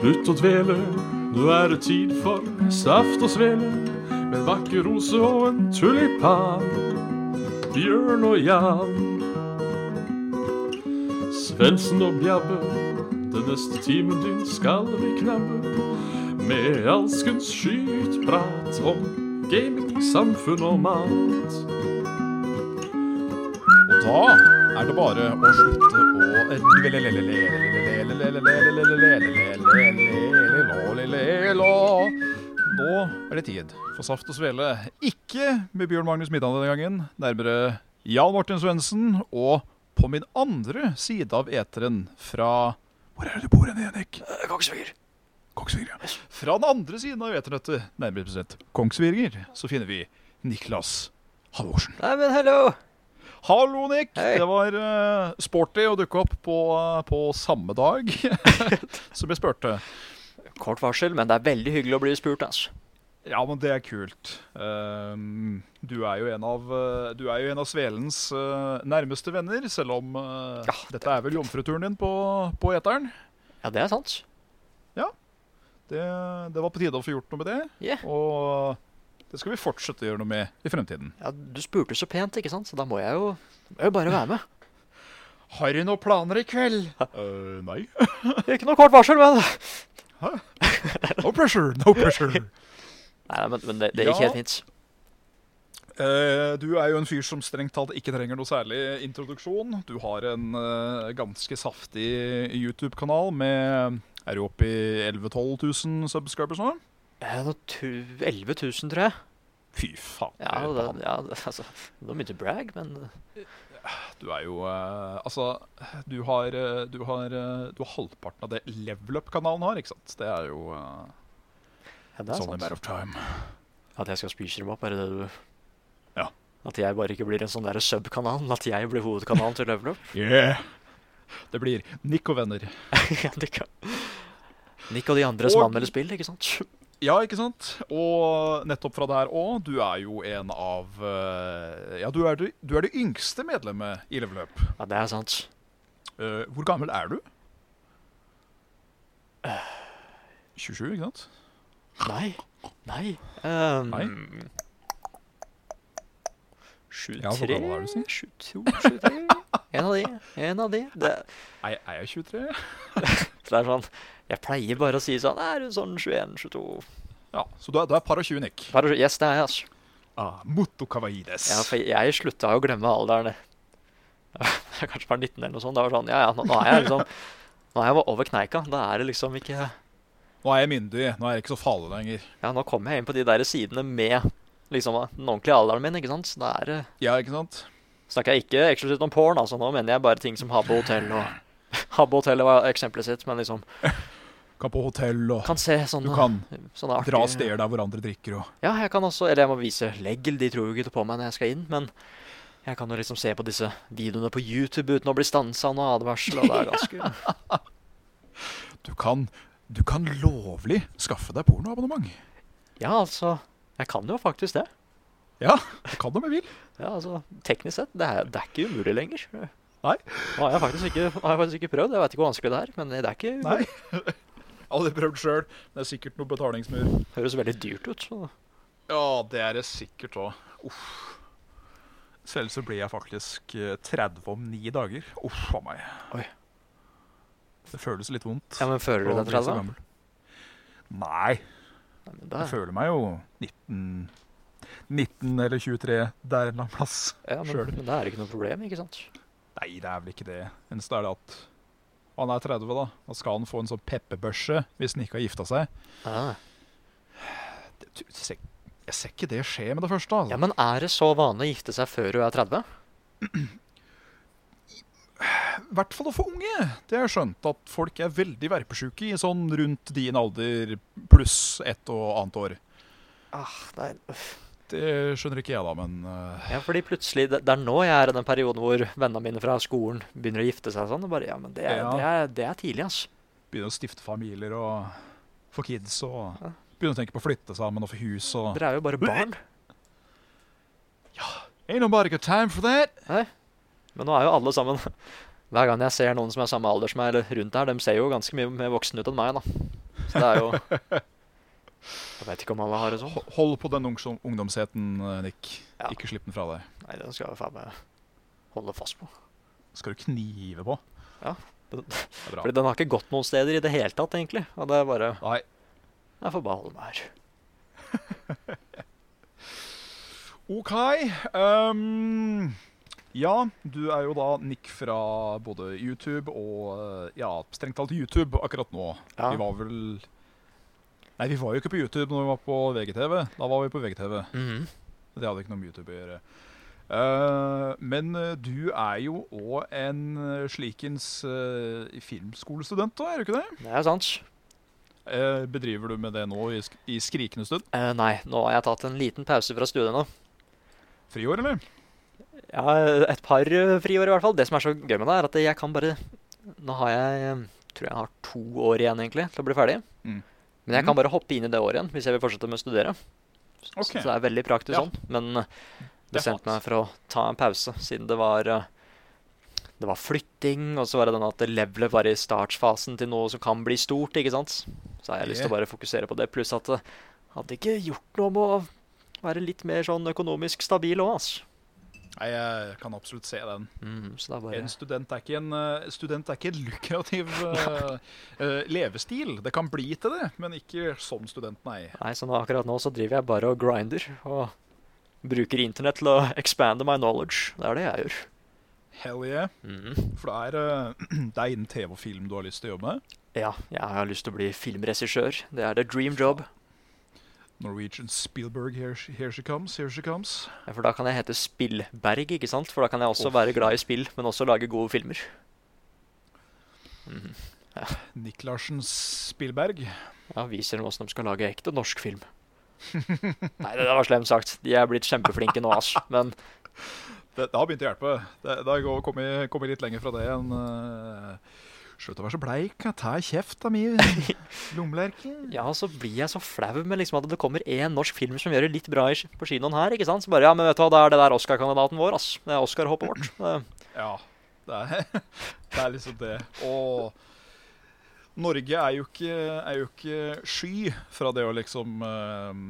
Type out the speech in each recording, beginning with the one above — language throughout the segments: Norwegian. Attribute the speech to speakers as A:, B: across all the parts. A: Slutt å dvele, nå er det tid for saft og svele. Med en vakker rose og en tulipan. Bjørn og Jan. Svendsen og Bjabbe, den neste timen din skal vi knabbe. Med alskens skytprat om gaming, samfunn og mat.
B: Og da er det bare å slutte å Nå er det tid for Saft og Svele. Ikke med Bjørn Magnus Middag denne gangen. Nærmere Jan Martin Svendsen. Og på min andre side av eteren fra Hvor er det du bor hen, Enik?
C: Kongsvinger.
B: Kongsvinger, ja. Fra den andre siden av eternettet, nærmere bestemt Kongsvinger, så finner vi Niklas Halvorsen.
C: Nei, men hallo!
B: Hallo, Nick.
C: Hei.
B: Det var eh, sporty å dukke opp på, eh, på samme dag som jeg spurte.
C: Kort varsel, men det er veldig hyggelig å bli spurt, altså.
B: Ja, men det er kult. Ehm, du, er jo en av, eh, du er jo en av Svelens eh, nærmeste venner, selv om eh,
C: Ja,
B: dette er vel jomfruturen din på, på eteren.
C: Ja, det er sant.
B: Det, det var på tide å få gjort noe med det,
C: Ja.
B: og det skal vi fortsette å gjøre noe med i fremtiden.
C: Ja, du spurte så pent, ikke sant? Så da må jeg jo, må jeg jo bare være med.
B: Har du noen planer i kveld? Eh, nei.
C: Ikke noe kort varsel, men Nei,
B: No pressure, no pressure.
C: nei, men, men det, det gikk
B: Ja.
C: helt fint.
B: Eh, du er jo en fyr som strengt talt ikke trenger noe særlig introduksjon. Du har en eh, ganske saftig YouTube-kanal med Er du oppe i 11 000-12 000 subscribers nå?
C: Eh, nå tu- 11 000, tror jeg.
B: Fy faen.
C: Ja, det, ja det, altså Det var mye til brag, men
B: Du er jo eh, Altså, du har, eh, du, har, eh, du har halvparten av det Level Up-kanalen har, ikke sant? Det er jo eh,
C: ja, det er
B: sånn a
C: sant.
B: matter of time.
C: At jeg skal spise dem opp, er det det du
B: Ja.
C: At jeg bare ikke blir en sånn derre sub-kanal, at jeg blir hovedkanalen til Level Up?
B: Yeah! Det blir Nick og venner.
C: ja, det kan Nick og de andre som
B: Og-
C: anmelder spill, ikke sant?
B: Ja, ikke sant? Og nettopp fra der òg, du er jo en av eh, Ja, du er det, du er det yngste medlemmet i Level Up.
C: Ja, det er sant.
B: Eh, hvor gammel er du? 27, ikke sant?
C: Nei. Nei. Um,
B: Nei.
C: 73
B: Ja, hvor gammel er du, si?
C: 72, 73 En av de. En av de. Det,
B: Nei, er jeg 23?
C: det er sånn Jeg pleier bare å si sånn Er du sånn 21, 22
B: Ja, Så du er, du er par og 20, Nick.
C: bare, Yes, det er jeg, altså.
B: Ah, Motto kawaides.
C: Ja, for jeg slutta jo å glemme alderen. Jeg kanskje var 19 eller noe sånt. Det var sånn Ja, ja, nå, nå er jeg liksom Nå er jeg over kneika. Da er det liksom ikke Ja,
B: Nå er jeg myndig. Nå er jeg ikke så farlig lenger.
C: nå kommer jeg inn på de der sidene med liksom den ordentlige alderen min, ikke sant? Så da er det
B: Ja, ikke sant?
C: snakker jeg ikke eksklusivt om porn, altså. Nå mener jeg bare ting som Habbo Hotell og Habbo Hotell var eksempelet sitt, men liksom
B: Kan på hotell og
C: Kan se
B: Du
C: sånne,
B: kan
C: sånne artige
B: dra steder der hvor andre drikker og
C: Ja, jeg kan også Eller jeg må vise leggel, de tror jo ikke på meg når jeg skal inn, men jeg kan jo liksom se på disse videoene på YouTube uten å bli stansa av noe advarsel, og det er ganske
B: Du kan Du kan lovlig skaffe deg pornoabonnement.
C: Ja, altså Jeg kan jo faktisk det.
B: Ja, du kan om jeg vil.
C: Ja, altså Teknisk sett, det er, det er ikke umulig lenger.
B: Nei.
C: Nå har jeg faktisk ikke, nå har jeg faktisk ikke prøvd, jeg veit ikke hvor vanskelig det er, men det er ikke
B: Nei. Aldri prøvd sjøl. Det er sikkert noe betalingsmur.
C: Det høres veldig dyrt ut, så
B: Ja, det er det sikkert òg. Selv så blir jeg faktisk eh, 30 om ni dager. Uff a meg.
C: Oi.
B: Det føles litt vondt.
C: Ja, men føler du
B: å
C: deg
B: bli så
C: 30?
B: gammel. Nei,
C: Nei, men
B: jeg
C: det-
B: føler meg jo 19 19 eller 23 der en eller annen plass.
C: Ja, men,
B: Sjøl.
C: men det er ikke noe problem, ikke sant?
B: Nei, det er vel ikke det. Eneste er det at han er 30, da. Da skal han få en sånn pepperbørse hvis han ikke har gifta seg.
C: Ah.
B: Det, du, ser- jeg ser ikke det skje med det første.
C: Ja,
B: Altså.
C: Men er det så vanlig å gifte seg før du er 30?
B: I hvert fall for unge. Det har jeg skjønt at folk er veldig verpesjuke i sånn rundt din alder pluss ett og annet år.
C: Ah, nei.
B: Det skjønner ikke jeg, da, men eh,
C: Ja, fordi plutselig Det, det er nå jeg er i den perioden hvor vennene mine fra skolen begynner å gifte seg og sånn. Og bare, ja, men det, er-
B: Ja.
C: det, er, det er tidlig, ass.
B: begynner å stifte familier og få kids og begynner å tenke på å flytte sammen og få hus og
C: Dere er jo bare barn.
B: Ain't nobody got time for that!
C: Men nå er jo alle sammen Hver gang jeg ser noen som er samme alder som meg, eller rundt der, de ser jo ganske mye mer voksne ut enn meg, da. Det er jo Jeg veit ikke om alle har det sånn.
B: Ho- Hold på den ungdom- ungdomsheten, eh, Nick.
C: Ja.
B: Ikke slipp den fra deg.
C: Nei, den skal jeg faen meg holde fast på.
B: Skal du knive på?
C: Ja.
B: Det er bra.
C: Fordi den har ikke gått noen steder i det hele tatt, egentlig. Og det er bare
B: Nei.
C: Jeg får bare holde meg her.
B: OK. ehm, ja, du er jo da Nick fra både YouTube og eh, Ja, strengt talt YouTube akkurat nå.
C: Ja.
B: Vi var vel Nei, vi var jo ikke på YouTube når vi var på VGTV. Da var vi på VGTV.
C: Mhm.
B: Det hadde ikke noe med YouTube å gjøre. Eh, men eh, du er jo òg en eh, slikens eh, filmskolestudent, da, er du ikke det?
C: Det er sant.
B: Eh, bedriver du med det nå i, sk i skrikende stund?
C: Eh, nei, nå har jeg tatt en liten pause fra studiene.
B: Friår, eller?
C: Ja, et par eh, friår i hvert fall. Det som er så gøy med det, er at jeg kan bare Nå har jeg eh, tror jeg har to år igjen egentlig til å bli ferdig.
B: Mm.
C: Men jeg
B: Mm.
C: kan bare hoppe inn i det året igjen hvis jeg vil fortsette med å studere. S-
B: Ok.
C: Så det er veldig praktisk
B: Ja.
C: sånn. Men eh,
B: Det er
C: bestemte
B: sant.
C: meg for å ta en pause siden det var eh, det var flytting, og så var det den at levelet var i startfasen til noe som kan bli stort. ikke sant? Så har jeg lyst til å bare fokusere på det. Pluss at det hadde ikke gjort noe med å være litt mer sånn økonomisk stabil òg, altså.
B: Nei, jeg kan absolutt se den.
C: Mm, så det er bare
B: En student er ikke en, eh, student er ikke en lukrativ eh, eh, levestil. Det kan bli til det, men ikke som student, nei.
C: Nei, så nå, akkurat nå så driver jeg bare og grinder og bruker internett til å expande my knowledge. Det er det jeg gjør.
B: Hell yeah. For det er, eh, det er innen TV og film du har lyst til å jobbe med.
C: Ja, jeg har lyst til å bli filmregissør. Det er the dream job.
B: Norwegian Spielberg, here she, here she comes, here she comes.
C: Ja, For da kan jeg hete Spillberg, ikke sant? For da kan jeg også være glad i spill, men også lage gode filmer. Mhm.
B: Nick Larsen Spielberg.
C: Ja, viser dem åssen de skal lage ekte norsk film. Nei, det der var slemt sagt. De er blitt kjempeflinke nå, altså. Men
B: Det, det har begynt å hjelpe. Det, det har gå- kommet, kommet litt lenger fra det enn eh, Slutt å være så bleik, ja. ta kjeft av mi lommelerke.
C: ja, så blir jeg så flau med liksom at det kommer én norsk film som gjør det litt bra i, på kinoen her, ikke sant? Så bare ja, men vet du hva, det er det der Oscar-kandidaten vår, ass. Det er Oscar-hoppet vårt. Det
B: Ja, det er, det er liksom det. Og Norge er jo ikke, er jo ikke sky fra det å liksom eh,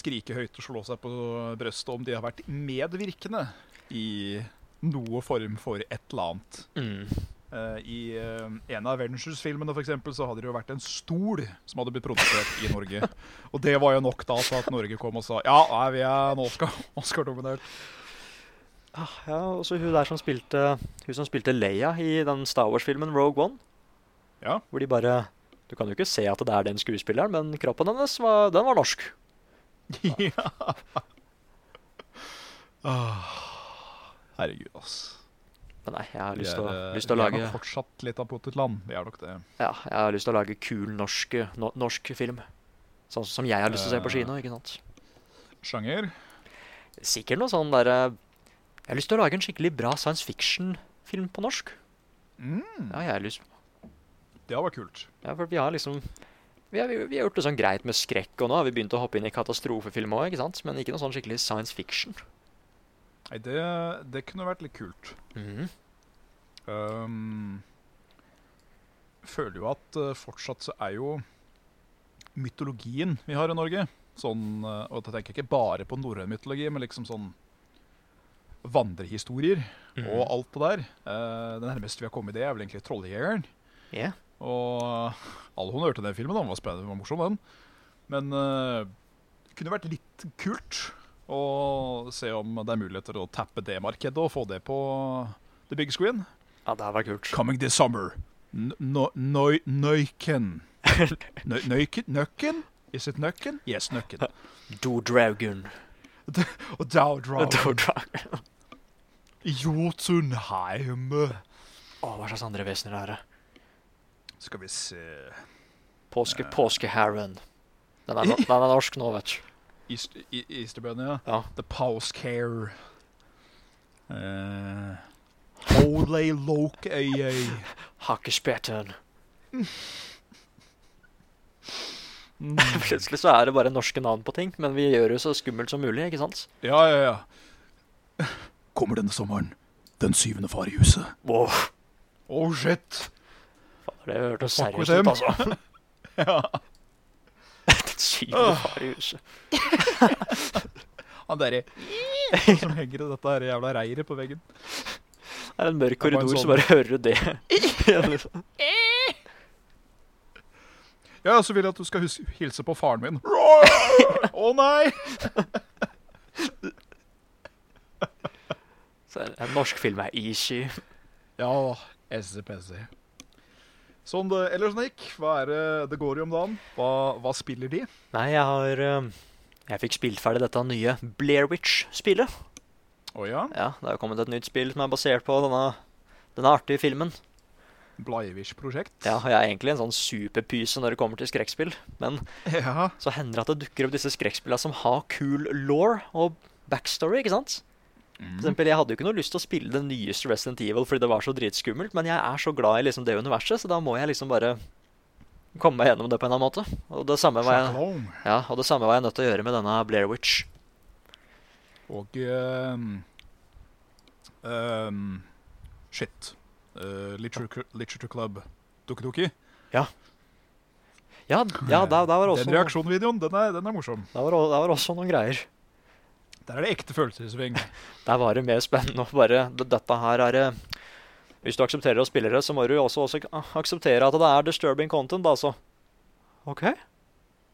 B: skrike høyt og slå seg på brøstet om de har vært medvirkende i noe form for et eller annet.
C: Mm.
B: Eh, I eh, en av Avengers-filmene for eksempel, så hadde det jo vært en stol som hadde blitt produsert i Norge. Og det var jo nok da til at Norge kom og sa ja, nei, vi er en Oscar- Oscar-dominert.
C: Ah, ja, og så hun der som spilte Hun som spilte Leia i den Star Wars-filmen Rogue One,
B: ja.
C: hvor de bare Du kan jo ikke se at det er den skuespilleren, men kroppen hennes var, den var norsk.
B: ja. Ah, herregud, ass.
C: Men nei, jeg har lyst
B: Vi
C: til å,
B: er, eh,
C: lyst til å
B: Vi
C: lage
B: er nok fortsatt litt av potetland. Vi er nok det.
C: Ja, jeg har lyst til å lage kul norsk, eh, no, norsk film. Sånn som jeg har lyst til å se på
B: Eh.
C: kino, ikke sant?
B: Sjanger?
C: Sikkert noe sånn derre Jeg har lyst til å lage en skikkelig bra science fiction-film på norsk.
B: Mm,
C: Ja, jeg har lyst
B: det hadde vært kult.
C: Ja, for vi har liksom vi har, vi har gjort det sånn greit med skrekk, og nå har vi begynt å hoppe inn i katastrofefilm òg, ikke sant? Men ikke noe sånn skikkelig science fiction.
B: Nei, det, det kunne vært litt kult.
C: Mhm.
B: Um, føler jo at eh, fortsatt så er jo mytologien vi har i Norge sånn, eh, Og da tenker jeg ikke bare på norrøn mytologi, men liksom sånn vandrehistorier
C: Mm.
B: og
C: Mm-hmm.
B: alt det der. Eh, det nærmeste vi har kommet det, er vel egentlig 'Trolljegeren'.
C: Ja.
B: Og alle honnør til den filmen, da. den var spennende, den var morsom, den. Men eh, det kunne vært litt kult å se om det er muligheter å tappe det markedet og få det på the big screen.
C: ja, det her var kult.
B: Coming this summer. N- no- noi- Nøyken. Nø- Nøyken? Nøkken? Is it nøkken? Yes, nøkken.
C: Do Dragon.
B: Og Dowdrow.
C: Do Dragon.
B: Jotunheim.
C: Å, hva slags andre vesener er det?
B: Skal vi se
C: Påske, påskeharen. Den er, no den er norsk nå, vet du.
B: East- I- Easterbønnen, ja.
C: Ja.
B: The Powers Care. Uh, Holy Lokøyøy.
C: Hakkespetten.
B: Mm.
C: Plutselig så er det bare norske navn på ting, men vi gjør det jo så skummelt som mulig, ikke sant?
B: Ja, ja, ja. Kommer denne sommeren. Den syvende far i huset.
C: Wow.
B: Oh shit.
C: Fader, det hørtes
B: Fuck with
C: seriøst ut,
B: them.
C: altså.
B: Ja.
C: Syvende far i huset.
B: Han derre som henger i dette her jævla reiret på veggen.
C: Det er en mørk
B: Det var en
C: korridor, så
B: sånn-
C: bare hører du det. igjen, liksom.
B: Ja, så vil jeg at du skal hus hilse på faren min. Å nei!
C: så en, en norsk film er Ishi.
B: Ja, esse-pesse. Sånn det ellers, Nick, hva er det det går i om dagen? Hva, hva spiller de?
C: Nei, jeg har eh, Jeg fikk spilt ferdig dette nye Blairwich-spillet.
B: Å ja,
C: Ja, det er jo kommet et nytt spill som er basert på denne, denne artige filmen.
B: Blaivish-prosjekt.
C: Ja, og jeg er egentlig en sånn superpyse når det kommer til skrekkspill, men
B: ja.
C: så hender det at det dukker opp disse skrekkspillene som har cool law og backstory, ikke sant? For
B: Mm.
C: eksempel, jeg hadde jo ikke noe lyst til å spille det nyeste Resident Evil fordi det var så dritskummelt, men jeg er så glad i liksom det universet, så da må jeg liksom bare komme meg gjennom det på en eller annen måte. Og det samme var jeg,
B: Shalom.
C: ja, og det samme var jeg nødt til å gjøre med denne Blair Witch.
B: Og ehm, ehm, Shit. Eh, literature, literature Club Doki-Doki.
C: Ja, ja der, der var også
B: Den
C: noe-
B: reaksjonsvideoen den er, den er morsom.
C: der var, der var også noen greier.
B: Der er det ekte følelser i sving.
C: Der var det mer spennende å bare d- Dette her er eh, Hvis du aksepterer å spille det, så må du også, også ak- ah, akseptere at det er disturbing content, altså. OK?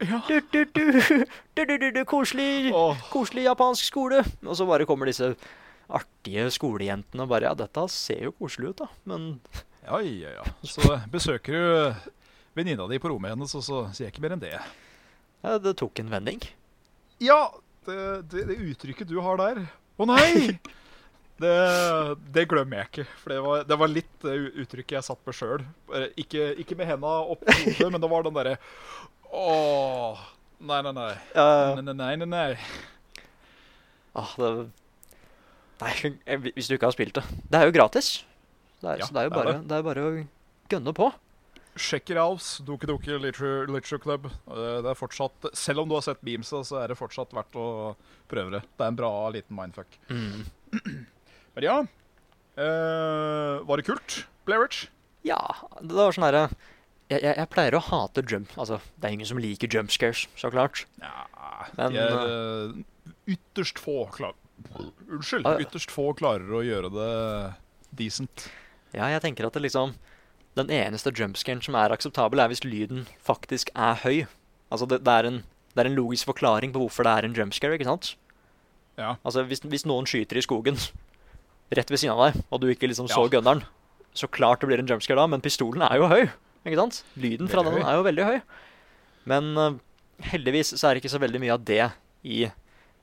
B: Ja.
C: Du, du, du, du, du, du, du, koselig,
B: Åh,
C: koselig japansk skole. Og så bare kommer disse artige skolejentene og bare Ja, dette ser jo koselig ut, da, men
B: ja, ja, ja. Så besøker du venninna di på rommet hennes, og så sier jeg ikke mer enn det.
C: ja, det tok en vending.
B: Ja, det, det, det uttrykket du har der Å nei! Det, det glemmer jeg ikke. For det var, det var litt det u- uttrykket jeg satt med sjøl. Eh, Ikke, ikke med henda opp i hodet, men det var den derre Åh, Nei, nei, nei.
C: Eh,
B: Nei, nei, nei, nei, nei.
C: ah, det Nei, jeg- hvis du ikke har spilt det. Det er jo gratis. Det er,
B: Ja,
C: så det er jo
B: det er
C: bare, det er bare å gønne på.
B: Sjekk Ralfs Doki Doki Literature, Literature Club. Eh, Det er fortsatt, selv om du har sett memesa, så er det fortsatt verdt å prøve det. Det er en bra liten mindfuck.
C: Mm.
B: Men ja, eh, var det kult? Blairich?
C: Ja, det var sånn herre jeg, jeg, jeg pleier å hate jump... Altså, det er ingen som liker jump scares, så klart.
B: Ja,
C: Men,
B: de er eh, ytterst få klar... Unnskyld.
C: Ah, ja.
B: Ytterst få klarer å gjøre det decent.
C: Ja, jeg tenker at det liksom Den eneste jumpscaren som er akseptabel, er hvis lyden faktisk er høy. Altså, det, det, er en, det er en logisk forklaring på hvorfor det er en jumpscare, ikke sant?
B: Ja.
C: Altså, hvis, hvis noen skyter i skogen rett ved siden av deg, og du ikke liksom så
B: Ja.
C: gunneren, så klart det blir en jumpscare da, men pistolen er jo høy, ikke sant? Lyden fra
B: Veldig
C: den
B: høy.
C: er jo veldig høy. Men eh, heldigvis så er det ikke så veldig mye av det i,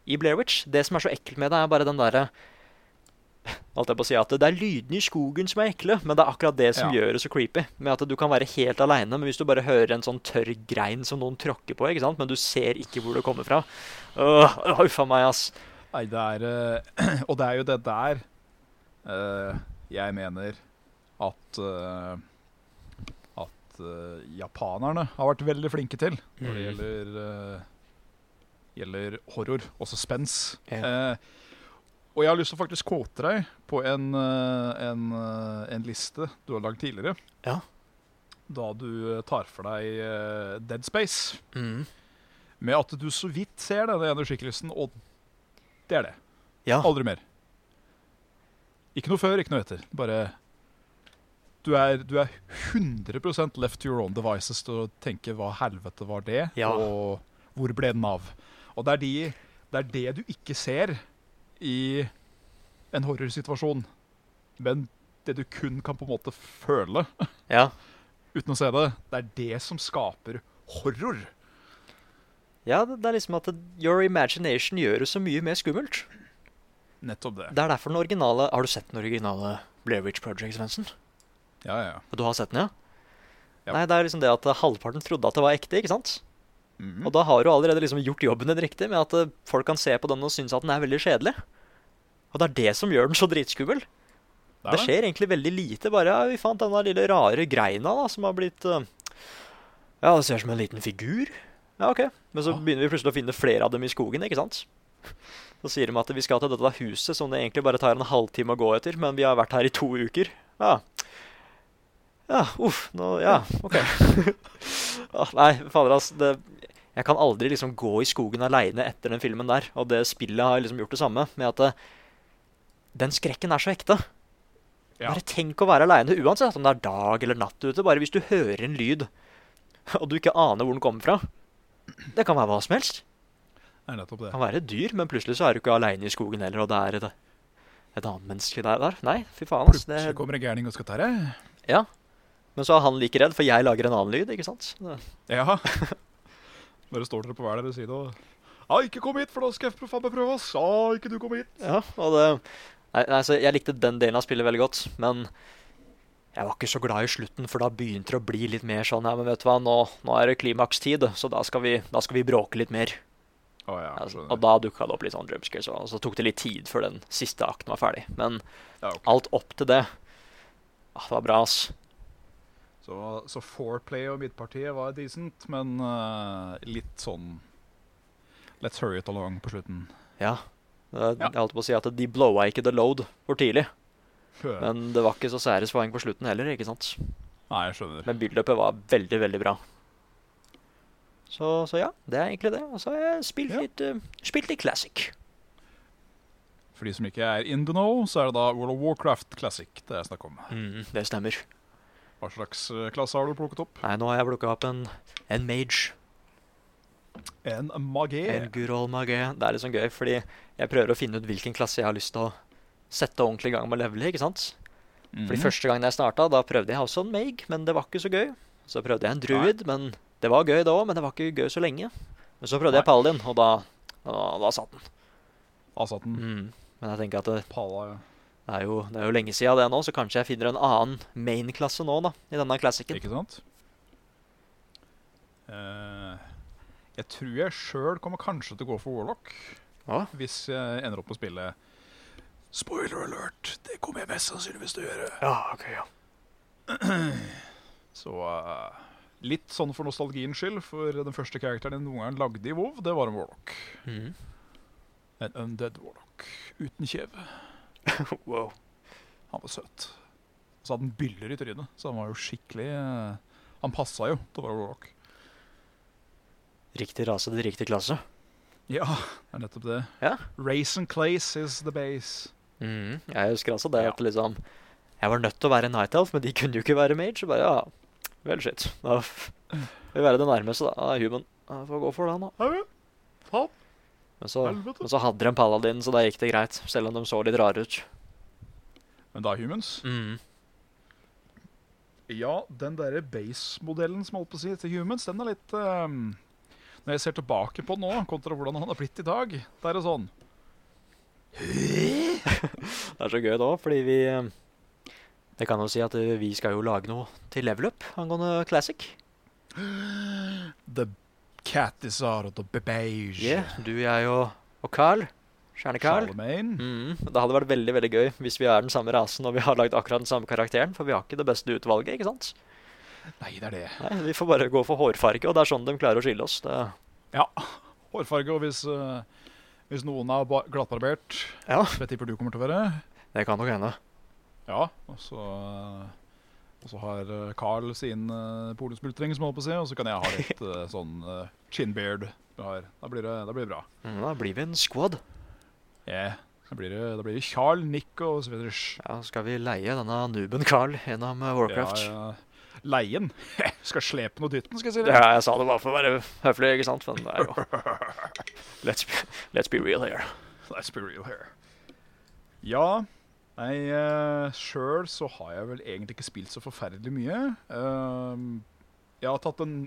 C: i Blair Witch. Det som er så ekkelt med det, er bare den derre Alt jeg på å si at Det er lydene i skogen som er ekle, men det er akkurat det som
B: Ja.
C: gjør det så creepy. Med at du kan være helt aleine, men hvis du bare hører en sånn tørr grein som noen tråkker på, ikke sant? men du ser ikke hvor det kommer fra Øh, Huff a meg, ass.
B: Nei, det er eh, Og det er jo det der eh, jeg mener at eh, At eh, japanerne har vært veldig flinke til når det
C: Mm.
B: gjelder eh, Gjelder horror, også spens.
C: Ja.
B: Eh, og jeg har lyst til å faktisk kvote deg på en, eh, en, eh, en liste du har lagd tidligere.
C: Ja.
B: Da du eh, tar for deg eh, Dead Space.
C: Mm.
B: Med at du så vidt ser denne ene skikkelsen, og det er det.
C: Ja.
B: Aldri mer. Ikke noe før, ikke noe etter. Bare Du er, du er 100 left to your own devices til å tenke hva helvete var det,
C: Ja.
B: og hvor ble den av? Og det er, de, det er det du ikke ser i en horrorsituasjon, men det du kun kan på en måte føle
C: Ja.
B: uten å se det, det er det som skaper horror.
C: ja, det det er liksom at det, your imagination gjør det så mye mer skummelt.
B: Nettopp det.
C: Det er derfor den originale Har du sett den originale Blair Witch Project, Svendsen?
B: Ja, ja, ja.
C: Du har sett den, ja?
B: Ja.
C: Nei, det er liksom det at eh, halvparten trodde at det var ekte, ikke sant?
B: Mhm.
C: Og da har du allerede liksom gjort jobben din riktig med at eh, folk kan se på den og synes at den er veldig kjedelig. Og det er det som gjør den så dritskummel.
B: Det er
C: Det skjer egentlig veldig lite. Bare ja, vi fant denne lille rare greina da, som har blitt eh, Ja, det ser ut som en liten figur. Ja, OK. Men så
B: Ja.
C: begynner vi plutselig å finne flere av dem i skogen, ikke sant? Så sier de at vi skal til dette huset, som det egentlig bare tar en halvtime å gå etter, men vi har vært her i to uker. Ja. Ja, uff. Nå Ja, OK. ah, nei, fader, ass. Det, Jeg kan aldri liksom gå i skogen aleine etter den filmen der. Og det spillet har liksom gjort det samme, med at eh, den skrekken er så ekte.
B: Ja.
C: Bare tenk å være aleine uansett om det er dag eller natt ute. Bare hvis du hører en lyd, og du ikke aner hvor den kommer fra. Det kan være hva som helst.
B: Det er nettopp
C: Det
B: det.
C: kan være et dyr, men plutselig så er du ikke aleine i skogen heller, og det er et, et annet menneske der. der. Nei, fy faen. ass.
B: Plutselig
C: Det,
B: kommer en gærning og skal ta deg.
C: ja. Men så er han like redd, for jeg lager en annen lyd, ikke sant? Det-
B: Ja. Bare står dere på hver deres side og Ja, ikke kom hit, for da skal jeg prøve- faen meg prøve, ass. Ja, ikke du kom hit.
C: Ja, og det Nei, nei, så jeg likte den delen av spillet veldig godt, men jeg var ikke så glad i slutten, for da begynte det å bli litt mer sånn ja, men vet du hva, nå, nå er det klimakstid, så da skal vi, da skal vi bråke litt mer.
B: Å ja,
C: Altså,
B: skjønner.
C: og da dukka det opp litt sånn jumpscares, og så tok det litt tid før den siste akten var ferdig. Men
B: Ja, ok.
C: alt opp til det ah, Det var bra, ass.
B: Så, så foreplay og midtpartiet var decent, men eh, litt sånn Let's hurry it along på slutten.
C: Ja. Eh,
B: Ja.
C: Jeg holdt på å si at de blowa ikke the load for tidlig,
B: Hø.
C: men det var ikke så særespoeng på slutten heller, ikke sant?
B: Nei, jeg skjønner.
C: Men build-upet var veldig, veldig bra. Så, så ja, det er egentlig det. Og så har jeg spilt,
B: Ja.
C: litt, eh, spilt litt classic.
B: For de som ikke er in the know, så er det da World of Warcraft Classic det er snakk om.
C: det stemmer.
B: Hva slags eh, klasse har du plukket opp?
C: Nei, nå har jeg plukka opp en, en mage.
B: En mage.
C: En Gurol Mage. Det er litt sånn gøy, fordi jeg prøver å finne ut hvilken klasse jeg har lyst til å sette ordentlig i gang med å levele. ikke sant?
B: Mhm.
C: Fordi første gangen jeg starta, da prøvde jeg også en mage, men det var ikke så gøy. Så prøvde jeg en druid, men det var gøy da òg, men det var ikke gøy så lenge. Men så prøvde jeg
B: Nei.
C: paladin, og da, da, da satt den.
B: Asaten.
C: Mm. Men jeg tenker at det,
B: Pala. ja.
C: Det er, jo, det er jo lenge siden det nå, så kanskje jeg finner en annen main-klasse nå, da. I denne classicen.
B: Ikke sant? Eh, jeg tror jeg sjøl kommer kanskje til å gå for Warlock.
C: Ja.
B: Hvis jeg ender opp med å spille Spoiler alert! Det kommer jeg mest sannsynligvis til å gjøre.
C: Ja, ok, ja.
B: Så eh, litt sånn for nostalgiens skyld, for den første karakteren jeg noen gang lagde i WoW, det var en Warlock.
C: Mm.
B: En undead Warlock. Uten kjeve.
C: wow.
B: Han var søt. Så hadde han byller i trynet, så han var jo skikkelig eh, Han passa jo til å være Warlock.
C: Riktig rase til riktig klasse.
B: Ja, det er nettopp det.
C: Ja.
B: Race and clays is the base.
C: Mm. Jeg husker altså det
B: Ja.
C: at liksom Jeg var nødt til å være Night Elf, men de kunne jo ikke være mage. Så bare ja, vel, shit. Da f- vil være det nærmeste, da. Ah, Human. Ah, Får gå for den, da.
B: Faen,
C: Men så,
B: helvete.
C: men så hadde de en paladin, så da gikk det greit. Selv om de så litt rare ut.
B: Men da, Humans
C: Mm.
B: Ja, den derre base-modellen som holdt på å si til Humans, den er litt ehm, Når jeg ser tilbake på den nå, kontra hvordan han har blitt i dag, da er det sånn
C: Det er så gøy da, fordi vi eh, Jeg kan jo si at eh, vi skal jo lage noe til level up angående classic.
B: The cat is out of the beige.
C: Yeah, du, jeg og, og Carl. Stjerne-Carl.
B: Charlemagne.
C: Mm, det hadde vært veldig veldig gøy hvis vi er den samme rasen og vi har lagd akkurat den samme karakteren, for vi har ikke det beste utvalget, ikke sant? Mm.
B: Nei, det er det.
C: Nei, Vi får bare gå for hårfarge, og det er sånn de klarer å skille oss. Det,
B: Hårfarge, og hvis, eh, hvis noen er ba- glattbarbert,
C: ja,
B: som jeg tipper du kommer til å være
C: det kan nok hende.
B: Ja, og så eh, og så har eh, Carl sin uh, polespultring, som jeg holdt på å si, og så kan jeg ha litt eh, sånn eh, chinbeard. jeg har. Da blir det, da blir det bra.
C: Mm, da blir vi en squad.
B: Yeah. Da blir det, da blir det Carl, Nick og så videre.
C: Ja, Skal vi leie denne nuben Carl gjennom eh, Warcraft? Ja,
B: Ja, ja. Leien. skal slepe noe dytten, skal jeg si
C: ja.
B: det.
C: jeg sa det bare for å være høflig, ikke sant? Men det er jo Let's be, let's be real here.
B: Let's be real here. Ja, nei, uh, sjøl så har jeg vel egentlig ikke spilt så forferdelig mye. Ehm, jeg har tatt en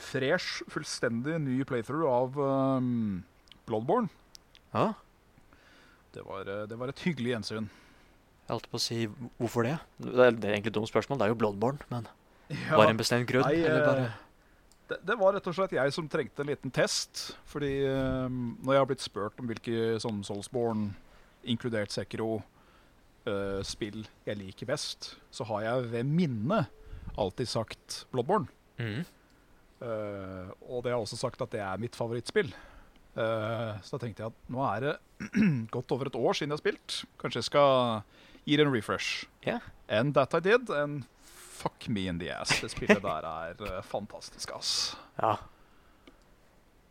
B: fresh, fullstendig ny playthrough av ehm, Bloodborne.
C: Ja,
B: Det var, eh, det var et hyggelig gjensyn.
C: jeg holdt på å si hvorfor det? Det er, det er egentlig et dumt spørsmål, det er jo Bloodborne, men
B: Ja.
C: var det en bestemt grunn?
B: Nei,
C: eller
B: eh,
C: bare
B: Det, det var rett og slett jeg som trengte en liten test. Fordi eh, når jeg har blitt spurt om hvilke sånn Soulsborne, inkludert Sekiro, eh, spill jeg liker best, så har jeg ved minne alltid sagt Bloodborne.
C: Mhm.
B: Eh, og det har jeg også sagt at det er mitt favorittspill. Eh, så da tenkte jeg at nå er det godt over et år siden jeg har spilt. Kanskje jeg skal gi det en refresh.
C: Ja.
B: And that I did. And fuck me in the ass. Det spillet der er eh, fantastisk, ass.
C: Ja.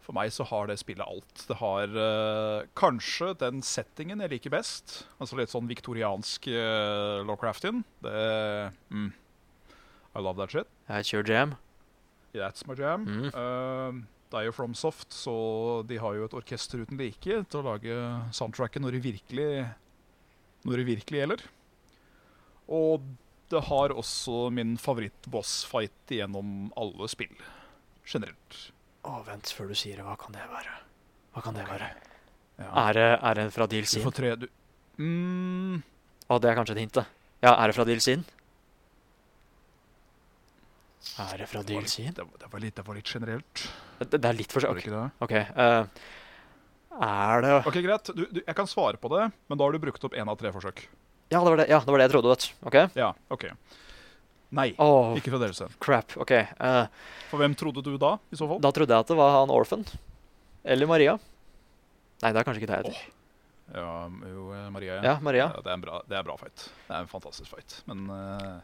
B: For meg så har det spillet alt. Det har eh, kanskje den settingen jeg liker best. Altså litt sånn viktoriansk uh, Lawcraftian. Det mm. I love that shit.
C: That's your jam.
B: That's my jam.
C: Mm.
B: Eh, det er jo FromSoft, så de har jo et orkester uten like til å lage soundtracket når det virkelig, når det virkelig gjelder. Og det har også min favoritt-boss-fight gjennom alle spill, generelt.
C: Å, vent før du sier det. Hva kan det være? Hva kan det være?
B: Ja.
C: Er det, er det fra
B: Du
C: DLC?
B: får tre du mm,
C: Å, det er kanskje et hint, da. Ja, er det fra DLC-en? Er det fra
B: det, var litt,
C: DLC-en?
B: det, var- det, var litt, det var litt generelt.
C: Det, det er litt
B: Var det
C: forskjellig.
B: ikke det?
C: OK. eh, er det
B: OK, greit. Du, du, jeg kan svare på det, men da har du brukt opp én av tre forsøk.
C: Ja, det var det, ja, det, var det jeg trodde, vet du. OK?
B: Ja, OK. Nei.
C: Å,
B: Ikke fra deres side.
C: crap. OK. eh,
B: For hvem trodde du da, i så fall?
C: da trodde jeg at det var han Orphan. Eller Maria. Nei, det er kanskje ikke det jeg heter.
B: Ja, jo, eh, Maria.
C: Ja, Maria.
B: Ja, det, er en bra, det er en bra fight. Det er en fantastisk fight. Men eh,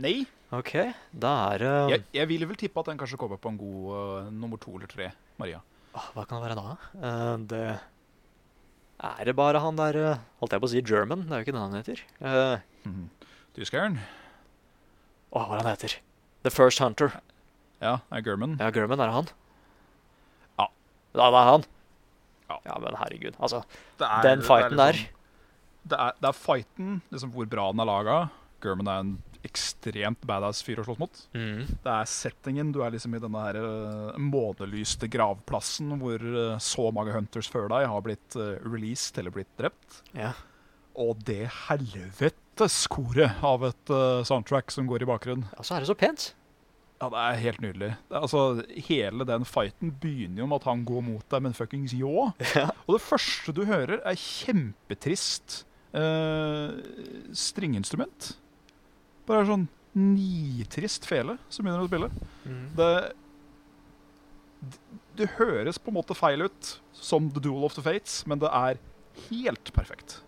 B: Nei.
C: OK. Da er det
B: Jeg, jeg ville vel tippe at den kanskje kommer på en god eh, nummer to eller tre. Maria.
C: Åh, Hva kan det være da? Eh, det Er det bare han der eh, Holdt jeg på å si German? Det er jo ikke det han heter. Eh,
B: Mhm. Tyskeren?
C: Åh, hva er det han heter? The First Hunter.
B: Ja, er German.
C: Ja, German, er det han?
B: Ja.
C: Ja, det er han?
B: Ja.
C: men herregud. Altså,
B: Det er-
C: den fighten
B: det er
C: der
B: liksom- Det er, det er fighten, liksom hvor bra den er laga. German er en ekstremt badass fyr å slåss mot.
C: mm.
B: Det er settingen. Du er liksom i denne her eh, månelyste gravplassen hvor eh, så mange hunters før deg har blitt eh, released eller blitt drept.
C: Ja.
B: Og det helvetes koret av et eh, soundtrack som går i bakgrunnen.
C: Og så er det så pent.
B: Ja, det er helt nydelig. Det er, altså, hele den fighten begynner jo med at han går mot deg med en fuckings ljå. Og det første du hører, er kjempetrist eh, strengeinstrument. Bare sånn nitrist fele som begynner å spille.
C: Mm.
B: Det Det høres på en måte feil ut, som The Duel of the Fates, men det er helt perfekt.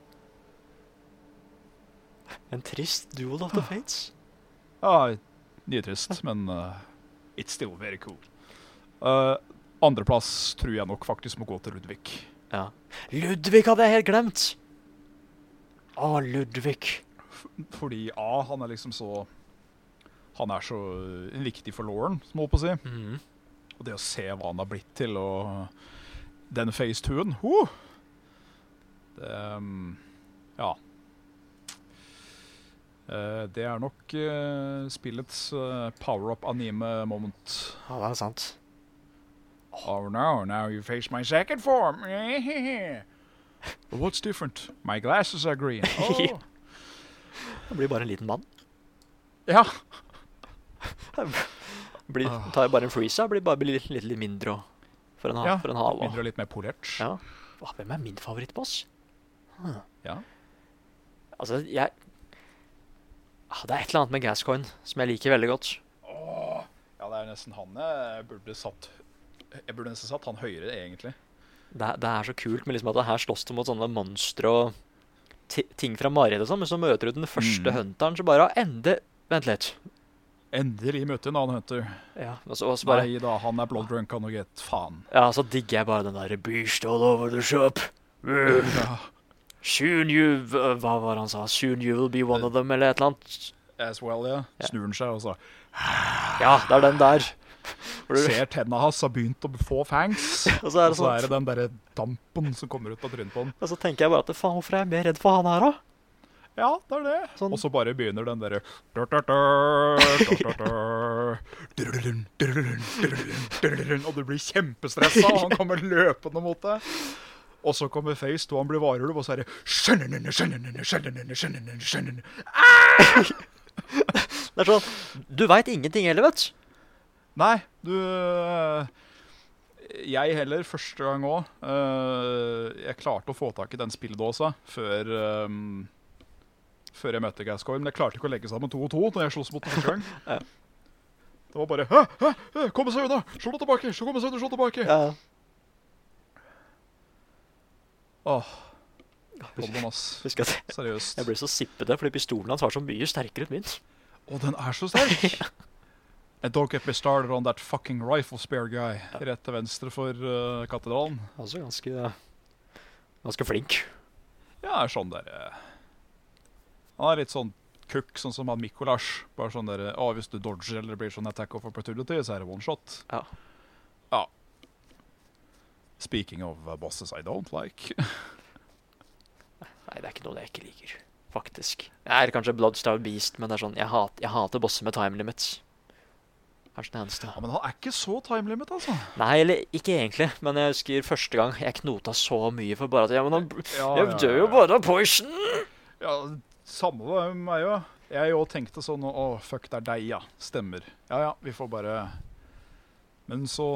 C: En trist duel of the fates.
B: Ja, Nitrist, men eh, it's still very cool. Eh, Andreplass tror jeg nok faktisk må gå til Ludvig.
C: Ja. Ludvig hadde jeg helt glemt! Å, Ludvig.
B: Fordi A, han er liksom så Han er så eh, viktig for Lauren, som jeg holdt på å si.
C: Mm.
B: Og det å se hva han har blitt til, og den phase 2-en huh! Det um, Ja. Eh, Det er nok eh, spillets eh, power-up anime moment.
C: Ja, det er sant.
B: Oh no, now you face my second form! But What's different? My glasses are green. Oh.
C: Han blir bare en liten mann.
B: ja.
C: Blir, tar bare en freezer, blir bare blir litt, litt, litt mindre og, for en, ha,
B: ja.
C: Ah, for en hale.
B: Mindre og litt mer polert.
C: Ja. Åh, hvem er min favorittboss?
B: Ja.
C: Altså, jeg ah, Det er et eller annet med Gascoigne som jeg liker veldig godt.
B: Åh, ja, det er nesten han jeg burde satt Jeg burde nesten satt han høyere, egentlig.
C: Det, er- det er så kult med liksom at det her slåss du mot sånne monstre og ti- ting fra mareritt og sånn, men så møter du den første
B: Mm.
C: hunteren som bare har ende Vent litt.
B: Endelig møtte en annen hunter.
C: Ja, og så, og så bare
B: Nei da, han er blood drunk, han og get faen.
C: Ja, så digger jeg bare den derre Beast all over the shop. Uh,
B: Ja,
C: soon you Hva var det han sa? Soon you will be one of them, eller et eller annet.
B: as well, ja.
C: Ja.
B: Snur han seg altså. og så
C: Ja, det er den der. Hvor du-
B: ser tenna hans har begynt å få fangs.
C: Og så
B: Og
C: er det
B: så
C: sånn
B: er det den derre dampen som kommer ut av trynet på han.
C: Og så tenker jeg bare at faen, hvorfor er jeg mer redd for han her, da?
B: Ja, det er det.
C: Sånn.
B: Og så bare begynner den derre Og du blir kjempestressa, og han kommer løpende mot deg. Og så kommer Face 2, han blir varulv, og så er det skjønnene, skjønnene, skjønnene, skjønnene, skjønnene.
C: Det er sånn Du veit ingenting heller, vet du.
B: Nei, du øh, Jeg heller, første gang òg. Jeg klarte å få tak i den spilledåsa før øhm, Før jeg møtte Gascoigne, men jeg klarte ikke å legge sammen to og to når jeg sloss mot den første gang.
C: Ja.
B: Det var bare hæ, hæ, hæ, Kom seg unna! Slå deg tilbake! Slå deg unna! Slå deg tilbake!
C: Ja.
B: Åh, Pokémon, ass.
C: Husker at jeg-
B: Seriøst.
C: jeg ble så sippete fordi pistolen hans var så mye sterkere enn min.
B: Og den er så sterk! And don't get me started on that fucking rifle spare guy. Rett til venstre for eh, katedralen.
C: Altså ganske Ganske flink.
B: Ja, er sånn der eh. Han er litt sånn kukk, sånn som han Mikolasj. Bare sånn der ah, Hvis du dodger eller det blir sånn attack of opportunity, så er det one shot.
C: Ja.
B: Ja. Speaking of eh, bosses I don't like.
C: Nei, det er ikke noe jeg ikke liker. Faktisk. Jeg er kanskje Bloodstar Beast, men det er sånn, jeg, hat, jeg hater bosser med time limits. Kanskje den eneste.
B: Ja, Men han er ikke så time limit, altså.
C: Nei, eller ikke egentlig, men jeg husker første gang jeg knota så mye for bare at Ja, men han
B: Ja,
C: Jeg dør jo bare av poison!
B: Ja, Samme det med meg òg. Jeg òg tenkte sånn Å, fuck, det er deg, ja. Stemmer. Ja ja, vi får bare Men så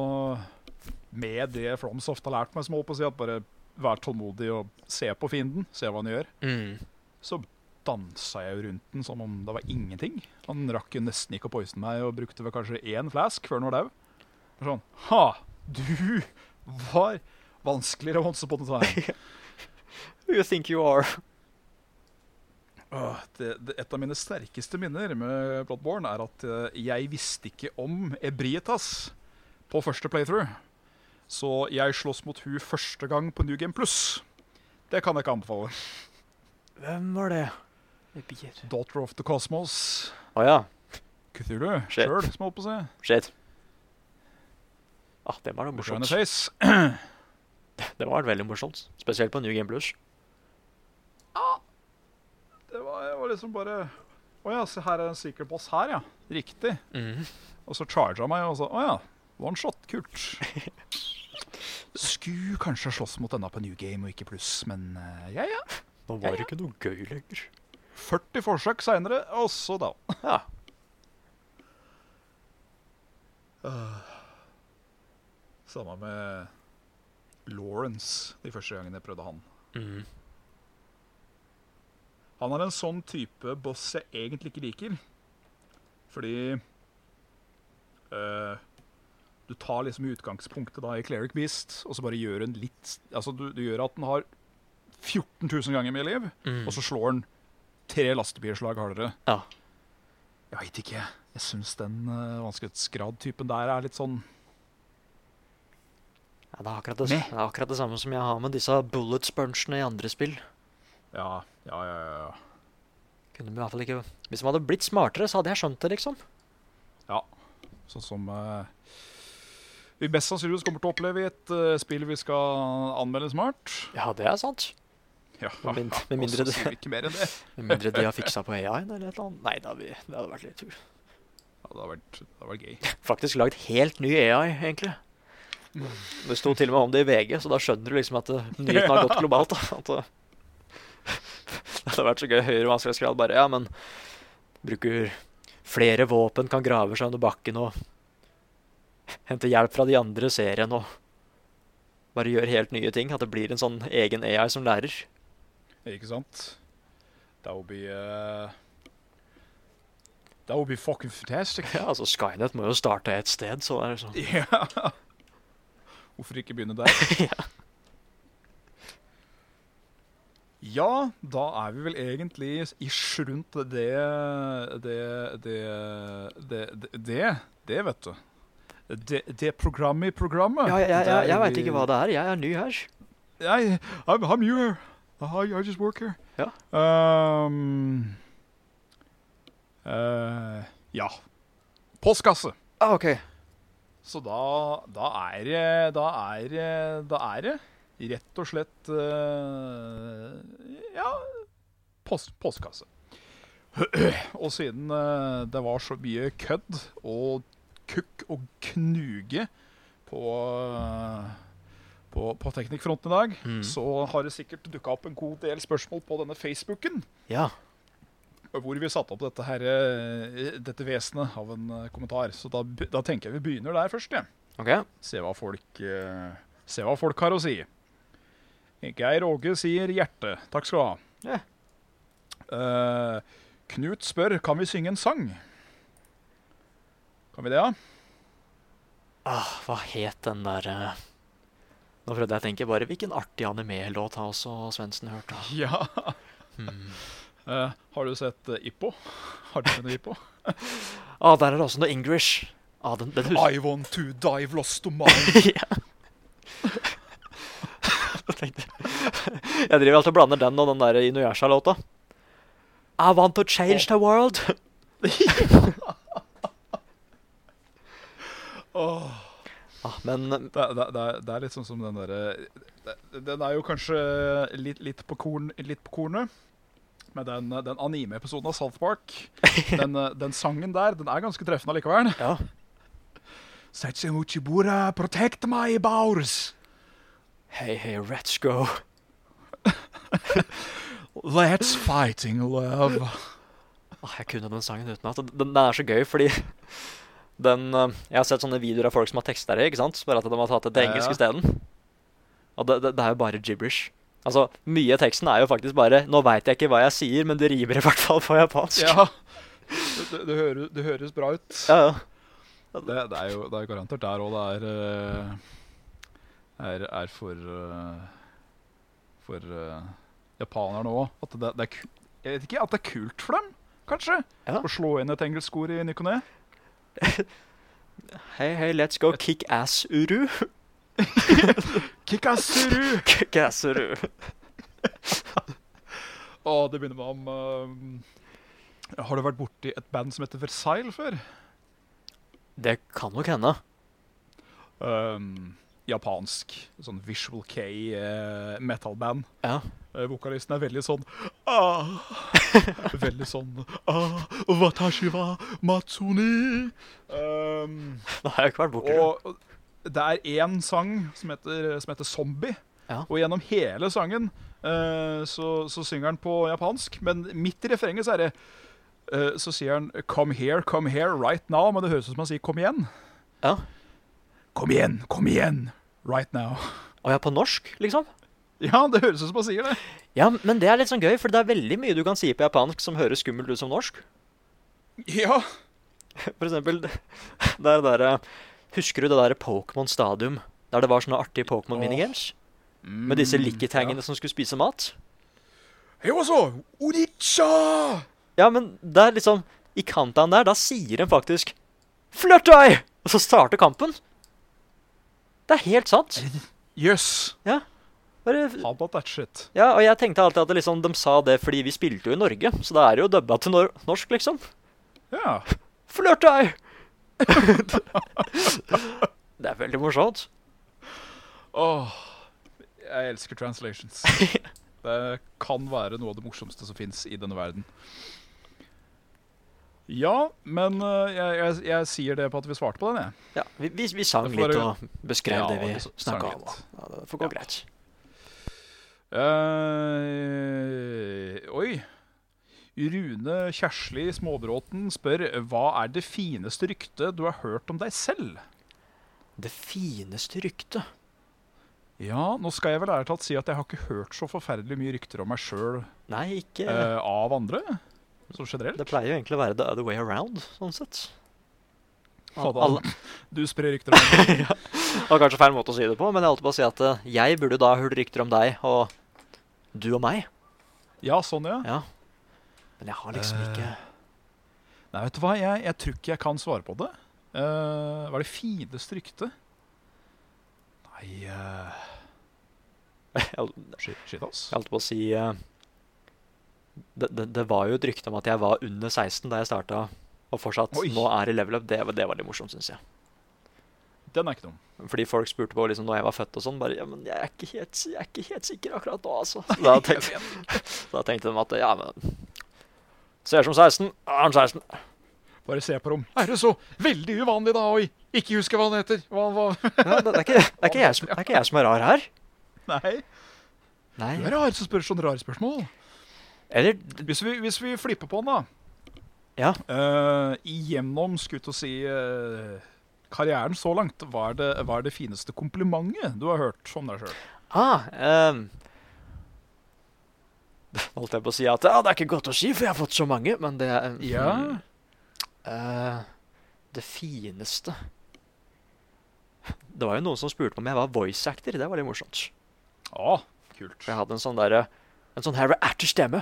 B: Med det Flomsoft har lært meg, som jeg holdt på å si, at bare vær tålmodig og se på fienden, se hva han gjør,
C: Mm.
B: så dansa jeg jo rundt den som om det var ingenting. Han rakk jo nesten ikke å poisone meg, og brukte vel kanskje én flask før han var dau. Sånn Ha! Du var vanskeligere once upon a time.
C: You think you are.
B: Åh, det, det, et av mine sterkeste minner med Bloodborne er at eh, jeg visste ikke om Ebrietas på første playthrough. Så jeg slåss mot hun første gang på New Game Plus. Det kan jeg ikke anbefale.
C: Hvem var det? Det bier.
B: Daughter of the Cosmos.
C: Å ja.
B: Cthulhu sjøl,
C: Shit.
B: som jeg liksom, holdt på å si.
C: Shit. Ah, det var noe
B: Shine
C: morsomt.
B: a Face.
C: Det var veldig morsomt. Spesielt på New Game Plus.
B: Det var, jeg var liksom bare Å ja, se her er en secret boss her, ja. Riktig.
C: Mm.
B: Og så charga han meg, og så Å ja. One shot. Kult. Skulle kanskje slåss mot denne på New Game og ikke pluss, men eh, ja, ja.
C: Nå var det ikke noe gøy lenger.
B: 40 forsøk seinere, og så da.
C: Ja.
B: Samme med Lawrence de første gangene jeg prøvde han.
C: Mm.
B: Han er en sånn type boss jeg egentlig ikke liker. Fordi eh, Du tar liksom utgangspunktet da i Cleric Beast, og så bare gjør en litt Altså du, du gjør at den har 14 000 ganger mer liv,
C: Mm.
B: og så slår den tre lastebilslag hardere.
C: Ja.
B: Jeg veit ikke. Jeg syns den uh, vanskelighetsgrad-typen der er litt sånn
C: Ja, det, er akkurat det, det er akkurat det samme som jeg har med disse bullet spongene i andre spill.
B: Ja, ja, ja. ja, ja.
C: Kunne i hvert fall ikke... Hvis man hadde blitt smartere, så hadde jeg skjønt det, liksom.
B: Sånn som eh, vi best sannsynligvis kommer til å oppleve i et eh, spill vi skal anmelde smart.
C: Ja, det er sant.
B: Ja,
C: Med min- med mindre
B: og så
C: det-
B: sier vi ikke mer enn det.
C: Med mindre de har fiksa på AI-en eller et eller annet. Nei, da, vi, det hadde vært litt tur.
B: Ja, det har vært, det har vært gøy.
C: Faktisk lagd helt ny AI, egentlig. Det sto til og med om det i VG, så da skjønner du liksom at eh, nyheten har gått globalt. Da. At, eh, det hadde vært så gøy. Høyere vanskelighetsgrad bare Ja, men bruker flere våpen, kan grave seg under bakken og hente hjelp fra de andre i serien og bare gjør helt nye ting. At det blir en sånn egen AI som lærer.
B: Ikke sant? That would be eh, That would be fucking fantastic.
C: Ja, altså Skynet må jo starte et sted, så er det sånn
B: Ja. Hvorfor ikke begynne der? Ja, da er vi vel egentlig ish rundt det Det Det Det, det, det, det vet du. Det, det programmet i programmet.
C: Ja, jeg, jeg, jeg, jeg veit ikke hva
B: det
C: det er. Jeg er ny her.
B: I, I'm, I'm new here. I, I just work here.
C: Ja.
B: Um, eh, ja. Postkasse.
C: Ah, ok.
B: Så da, da er det Da er det Da er det rett og slett eh, Ja post, Postkasse. og siden eh, det var så mye kødd og kukk og knuge på eh, på, på teknikkfronten i dag,
C: Mm.
B: så har det sikkert dukka opp en god del spørsmål på denne Facebooken,
C: Ja.
B: hvor vi satte opp dette, her, eh, dette vesenet av en eh, kommentar. Så da, be- da tenker jeg vi begynner der først. Ja.
C: Ok.
B: Se hva folk, eh, se hva folk har å si. Geir Åge sier hjerte. Takk skal du ha.
C: Ja.
B: Eh, Knut spør kan vi synge en sang. Kan vi det, ja?
C: Ah, hva het den der eh? Nå prøvde jeg å tenke bare hvilken artig anime-låt har også Svendsen hørt. da?
B: Ja.
C: Hmm.
B: Eh, har du sett eh, Ippo? Har du sett Ippo?
C: Ah, der er det også noe English. Ah, den, den husker
B: I want to dive lost to mine.
C: ja. Jeg tenkte- Jeg driver alltid og blander den og den der Inuyasha-låta. I want to change the world. Ah, men
B: Det, er- det, er- det, er- det er litt sånn som den derre det- Den er jo kanskje litt, litt, på, korn, litt på kornet. Men den, den anime-episoden av South Park, den, den sangen der, den er ganske treffende allikevel.
C: ja.
B: Setsumichibura, protect my bowers!
C: Hey, hey, let's go.
B: That's fighting love.
C: Åh, jeg kunne den sangen utenat. Den, den er så gøy, fordi den eh, Jeg har sett sånne videoer av folk som har tekster i, ikke sant? Bare at de har tatt det til
B: Ja, ja.
C: engelsk isteden. Og det, det, det er jo bare gibberish. Altså, Mye av teksten er jo faktisk bare Nå veit jeg ikke hva jeg sier, men det rimer i hvert fall på japansk.
B: Ja. Det, det, det, høres, det høres bra ut.
C: Ja, ja.
B: Det, det er jo det er garantert der òg. Det er, eh, er, er for eh, For eh, japanerne òg. At det, det er ku- Jeg vet ikke, at det er kult for dem, kanskje?
C: Ja.
B: Å slå inn et engelsk ord i ny og ne.
C: Hei, hei, let's go kick ass, Uru.
B: Kikasuru!
C: kick ass, Uru.
B: Å, det begynner med om eh, Har du vært borti et band som heter Versailles før?
C: Det kan nok hende.
B: Um, japansk. Sånn Visual K eh, metal-band.
C: Ja.
B: Eh, Vokalisten er veldig sånn ah, Veldig sånn ah, Watashi wa Matsuni. Um,
C: Det har jeg ikke vært borti. det.
B: og det er én sang som heter, som heter Zombie.
C: Ja.
B: Og gjennom hele sangen eh, så, så synger han på japansk, men midt i refrenget så er det eh, så sier han 'come here, come here, right now', men det høres ut som han sier 'kom igjen'.
C: Ja.
B: Kom igjen, kom igjen, right now.
C: Og jeg er på norsk, liksom.
B: Ja, det høres ut som han sier det.
C: Ja, men det er litt sånn gøy, for det er veldig mye du kan si på japansk som høres skummelt ut som norsk.
B: Ja.
C: For eksempel det er det derre Husker du det derre Pokémon Stadium? Der det var sånne artige Pokémon
B: Åh.
C: minigames? Med disse likitangene som skulle spise mat?
B: Hei, også! Onicha!
C: Ja, men det er liksom I kantaen der, da sier en faktisk 'Flørtøy!' Og så starter kampen. Det er helt sant.
B: Jøss.
C: Bare
B: Yes. How about that shit?
C: Ja, og jeg tenkte alltid at det liksom, de sa det fordi vi spilte jo i Norge, så da er det jo dubba til nor norsk, liksom.
B: Ja.
C: Flørte jeg! det er veldig morsomt.
B: Åh, jeg elsker translations. det kan være noe av det morsomste som fins i denne verden. Ja, men eh, jeg, jeg, jeg sier det på at vi svarte på den, jeg.
C: Ja, vi, vi, vi sang
B: Det får
C: litt
B: være-
C: og beskrev
B: Ja,
C: det
B: vi s-
C: vi
B: sang
C: snakka
B: litt.
C: om. og- Ja, det får gå
B: Ja.
C: greit.
B: Eh, oi. Rune Kjærsli Småbråten spør hva er det fineste ryktet du har hørt om deg selv?
C: Det fineste ryktet
B: Ja, nå skal jeg vel ærlig talt si at jeg har ikke hørt så forferdelig mye rykter om meg sjøl
C: Nei, ikke
B: eh, av andre. Så generelt.
C: Det pleier jo egentlig å være the other way around, sånn sett. Al-
B: Fader,
C: Alle,
B: Du sprer rykter om meg.
C: det var kanskje feil måte å si det på, men jeg holdt på å si at eh, jeg burde da ha hørt rykter om deg og du og meg.
B: Ja, sånn, ja.
C: Ja. Men jeg har liksom
B: Eh,
C: ikke
B: Nei, vet du hva, jeg, jeg tror ikke jeg kan svare på det. Eh, hva er det fineste ryktet? Nei eh,
C: jeg,
B: Shit, shit ass.
C: Jeg holdt på å si eh, det, det, det var jo et rykte om at jeg var under 16 da jeg starta, og fortsatt
B: Oi.
C: nå er i level up. Det, var- det var litt morsomt, syns jeg.
B: Den er ikke dum.
C: Fordi folk spurte på liksom, når jeg var født og sånn. bare, ja, men jeg er, ikke helt, jeg er ikke helt sikker akkurat nå, altså. Så Da tenkte, da tenkte de at ja, men Ser som 16. Er han 16?
B: Bare se på dem. Er det så veldig uvanlig, da? Oi, ikke husker hva han heter. Hva, hva?
C: Ja, det, det, er ikke, det, er ikke jeg som, det er ikke jeg som er rar her.
B: Nei.
C: Nei.
B: Du er rar som spør sånne rare spørsmål.
C: Eller
B: Hvis vi, hvis vi flipper på den, da.
C: Ja.
B: Eh, igjennom, skulle jeg til å si, eh, karrieren så langt, hva er, det, hva er det fineste komplimentet du har hørt om deg sjøl?
C: Ah, ehm. Holdt jeg på å si at ja, det er ikke godt å si, for jeg har fått så mange, men det er
B: Ja.
C: Eh, det fineste Det var jo noen som spurte om jeg var voice actor. Det var litt morsomt.
B: Ah, kult.
C: For jeg hadde en sånn derre En sånn Harry Atter-stemme.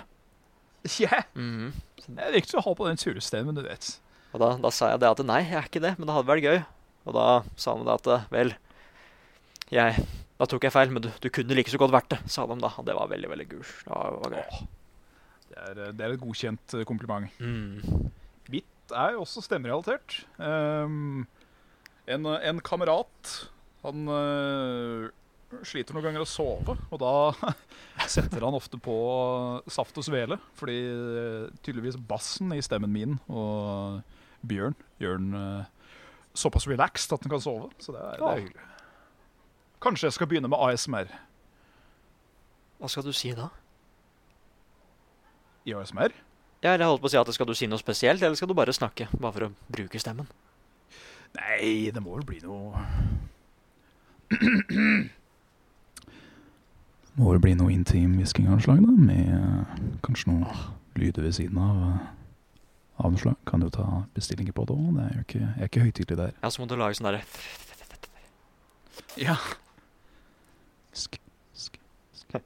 B: Yeah.
C: Mhm.
B: Det er viktig å ha på den turestemmen, du vet.
C: Og da, da sa jeg det at nei, jeg er ikke det, men det hadde vært gøy. Og da sa han det at eh, vel, jeg Da tok jeg feil, men du, du kunne like så godt vært det, sa de da. Og det var veldig, veldig gult. Det var, var gøy.
B: Det er, eh, det er et godkjent eh, kompliment.
C: Mm.
B: Mitt er jo også stemmerelatert. Ehm, en, en kamerat han eh, sliter noen ganger å sove, og da setter han ofte på saft og svele. Fordi eh, tydeligvis bassen i stemmen min og Bjørn gjør den eh, såpass relaxed at den kan sove. Så det er, det
C: Ja.
B: er hyggelig. Kanskje jeg skal begynne med ASMR.
C: Hva skal du si da?
B: I ASMR?
C: Ja, eller jeg holdt på å si at skal du si noe spesielt, eller skal du bare snakke? Bare for å bruke stemmen.
B: Nei, det må vel bli noe Må vel bli noe intim hvisking av et slag, da, med eh, kanskje noe lyder ved siden av. eh, Av noe slag. Kan jo ta bestillinger på det òg. Det er jo ikke, jeg er ikke høytidelig der.
C: Ja, så må du lage sånn derre
B: Ja. Sk, sk.
C: Jeg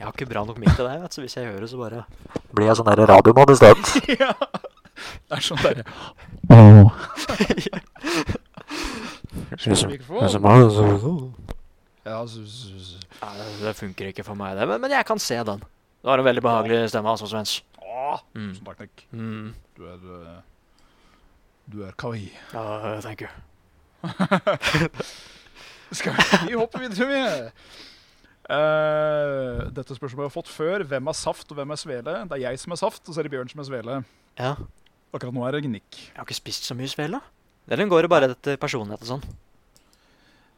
C: har ikke bra nok mic til deg, vet du, så hvis jeg gjør det, så bare blir jeg sånn derre radiomann isteden.
B: ja. Det er sånn derre Mikrofon. Ja, z- z- z-
C: Nei, det- det funker ikke for meg, det. Men, men jeg kan se den. Du har en veldig behagelig stemme, altså, Svens.
B: Å,
C: Mm.
B: tusen takk, Nick.
C: Mm.
B: Du er eh, Du er kawaii.
C: Ja, eh, thank you.
B: Skal vi, vi hoppe videre med Eh, Dette spørsmålet har jeg fått før. Hvem er saft, og hvem er svele? Det er jeg som er saft, og så er det Bjørn som er svele.
C: Ja.
B: Akkurat nå er det Gnikk.
C: Jeg har ikke spist så mye svele. Den går jo bare etter personlighet og sånn.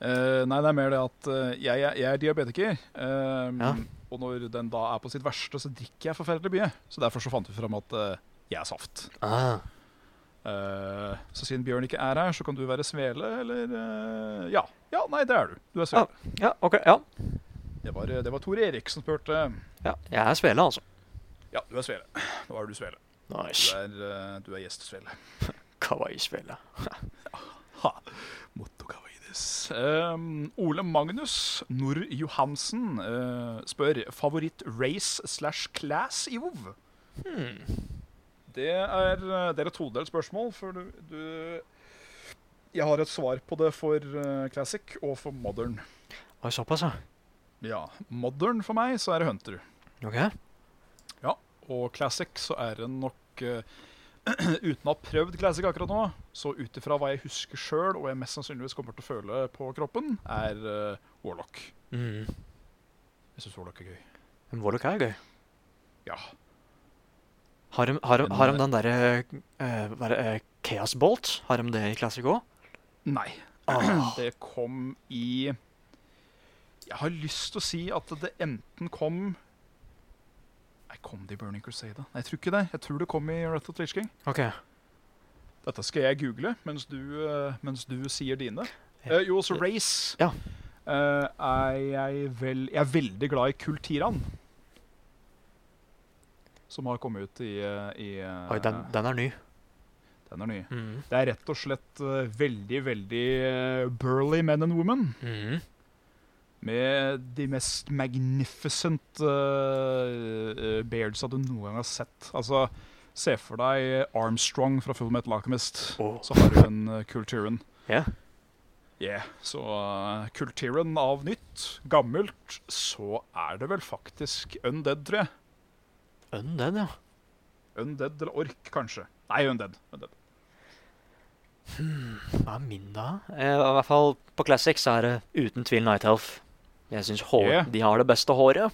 B: Eh, nei, det er mer det at eh, jeg, jeg, jeg er diabetiker. eh,
C: Ja.
B: Og når den da er på sitt verste, så drikker jeg forferdelig mye. Så derfor så fant vi fram at eh, jeg er saft.
C: Ah.
B: Eh, så siden Bjørn ikke er her, så kan du være svele, eller eh, Ja. Ja, nei, det er du. Du er
C: Ja.
B: svele.
C: Ja, OK. Ja.
B: Det var, eh, det var Tore Erik som spurte.
C: ja. Jeg er svele, altså.
B: Ja, du er svele. Nå er du svele. Du
C: Nice.
B: er, eh, du er gjestesvele.
C: Kawaii-svele.
B: Motokavides. Um, Ole Magnus Nord Johansen eh, spør favoritt race slash class i WoW.
C: Hmm.
B: Det er, eh, det er et todelt spørsmål, for du, du Jeg har et svar på det for eh, classic og for modern.
C: Oi, såpass, ja.
B: Ja, modern for meg så er det hunter.
C: OK.
B: Og classic så er det nok eh, Uten å ha prøvd classic akkurat nå, så ut ifra hva jeg husker sjøl, og jeg mest sannsynligvis kommer til å føle på kroppen, er eh, warlock.
C: Mm.
B: Jeg syns warlock er gøy.
C: Men Warlock er gøy.
B: Ja.
C: Har de, har de,
B: Men,
C: har de den derre eh, hva er det, eh, Chaos Bolt? Har de det i Classic òg?
B: Nei.
C: Ah.
B: Det kom i Jeg har lyst til å si at det enten kom Nei, kom det i Burning Crusade? Nei, jeg tror ikke det. Jeg tror det kom i Wrath of the Lich King.
C: OK.
B: Dette skal jeg google mens du, eh, mens du sier dine.
C: Ja.
B: Eh, jo, også Race
C: Ja.
B: eh, er jeg vel Jeg er veldig glad i Kultiran. Som har kommet ut i, eh, i eh,
C: Oi, den, den er ny.
B: den er ny.
C: Ah. Mm.
B: Det er rett og slett eh, veldig, veldig eh, burly men and women.
C: Mm.
B: Med de mest magnificent uh, beards at du noen gang har sett. Altså, se for deg Armstrong fra Full Metal Alchemist.
C: Åh.
B: Så har du en uh, Kulturen.
C: Ja.
B: Yeah. Så uh, Kulturen av nytt, gammelt, så er det vel faktisk Undead, tror jeg.
C: Undead, ja.
B: Undead eller Ork, kanskje. Nei, Undead. Undead.
C: Hva er min, da? Eh, I hvert fall på Classic så er det uten tvil Night Elf. Jeg syns
B: Yeah.
C: de har det beste håret.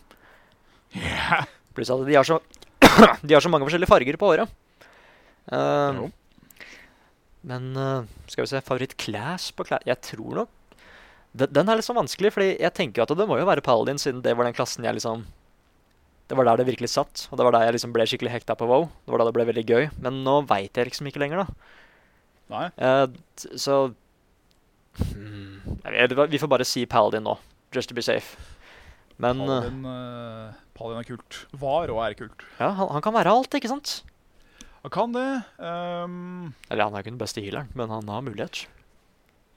B: Yeah.
C: Pluss at de har så De har så mange forskjellige farger på håret. Eh,
B: Jo.
C: men eh, skal vi se Favoritt-class på class Jeg tror nok den, den er litt sånn vanskelig, fordi jeg tenker at det må jo være Paladin, siden det var den klassen jeg liksom Det var der det virkelig satt, og det var der jeg liksom ble skikkelig hekta på wow. Det var da det ble veldig gøy. Men nå veit jeg liksom ikke lenger, da.
B: Nei.
C: Eh, t- så hmm, jeg vet hva, Vi får bare si Paladin nå, just to be safe. Men eh,
B: Paladin, uh, Paladin er kult. Var og er kult.
C: ja, han, han kan være alt, ikke sant?
B: Han kan det. ehm,
C: Eller han er ikke den beste healeren, men han har mulighet.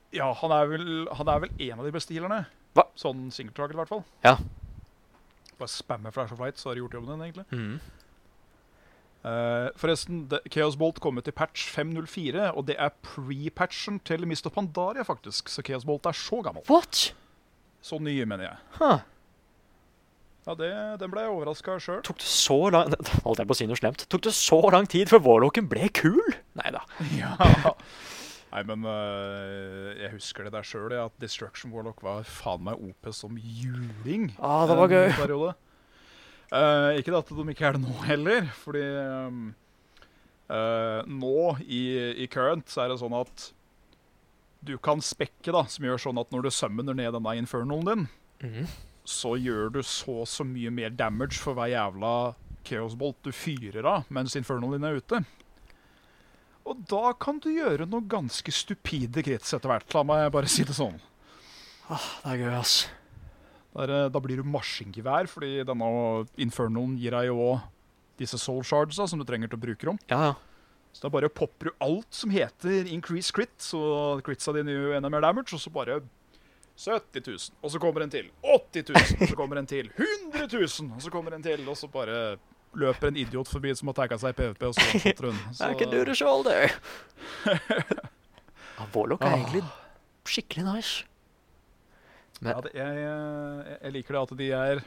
B: Ja, han er vel, han er vel en av de beste healerne.
C: Hva?
B: Sånn singletracker, i hvert fall.
C: Ja.
B: Bare spamme flash of light, så har du gjort jobben din, egentlig.
C: Mhm.
B: Eh, forresten, det, Chaos Bolt kommer til patch 504, og det er pre-patchen til Mist of Pandaria, faktisk. Så Chaos Bolt er så gammel.
C: What?!
B: Så ny, mener jeg.
C: Huh.
B: Ja, det, Den ble jeg overraska sjøl.
C: Tok det så lang Holdt jeg på å si noe slemt? Tok det så lang tid før Warlocken ble kul? Nei da.
B: Ja. Nei, men eh, jeg husker det der sjøl, at Destruction Warlock var faen meg OP som juling.
C: Ah, det var
B: en
C: gøy.
B: periode. Eh, ikke at de ikke er det nå heller, fordi ehm, eh, nå i, i current så er det sånn at du kan spekke, da, som gjør sånn at når du summoner ned denne infernalen din,
C: Mhm.
B: så gjør du så og så mye mer damage for hver jævla chaosbolt du fyrer av mens infernalen din er ute. Og da kan du gjøre noe ganske stupide krits etter hvert, la meg bare si det sånn.
C: Ah, Det er gøy, ass.
B: Der, eh, da blir du maskingevær, fordi denne infernalen gir deg jo òg disse soul chargesa som du trenger til å bruke dem.
C: Ja, ja.
B: Så da bare popper du alt som heter increase crit, så critsa dine gjør jo enda mer damage, og så bare 70 000, og så kommer en til. 80 000, og så kommer en til. 100 000, og så kommer en til. Og så bare løper en idiot forbi som har tagga seg i PVP, og så fortsetter hun.
C: I can do the shoulder. ja, Warlock er
B: Ah.
C: egentlig skikkelig nice.
B: Ja, det, jeg, jeg, jeg liker det at de er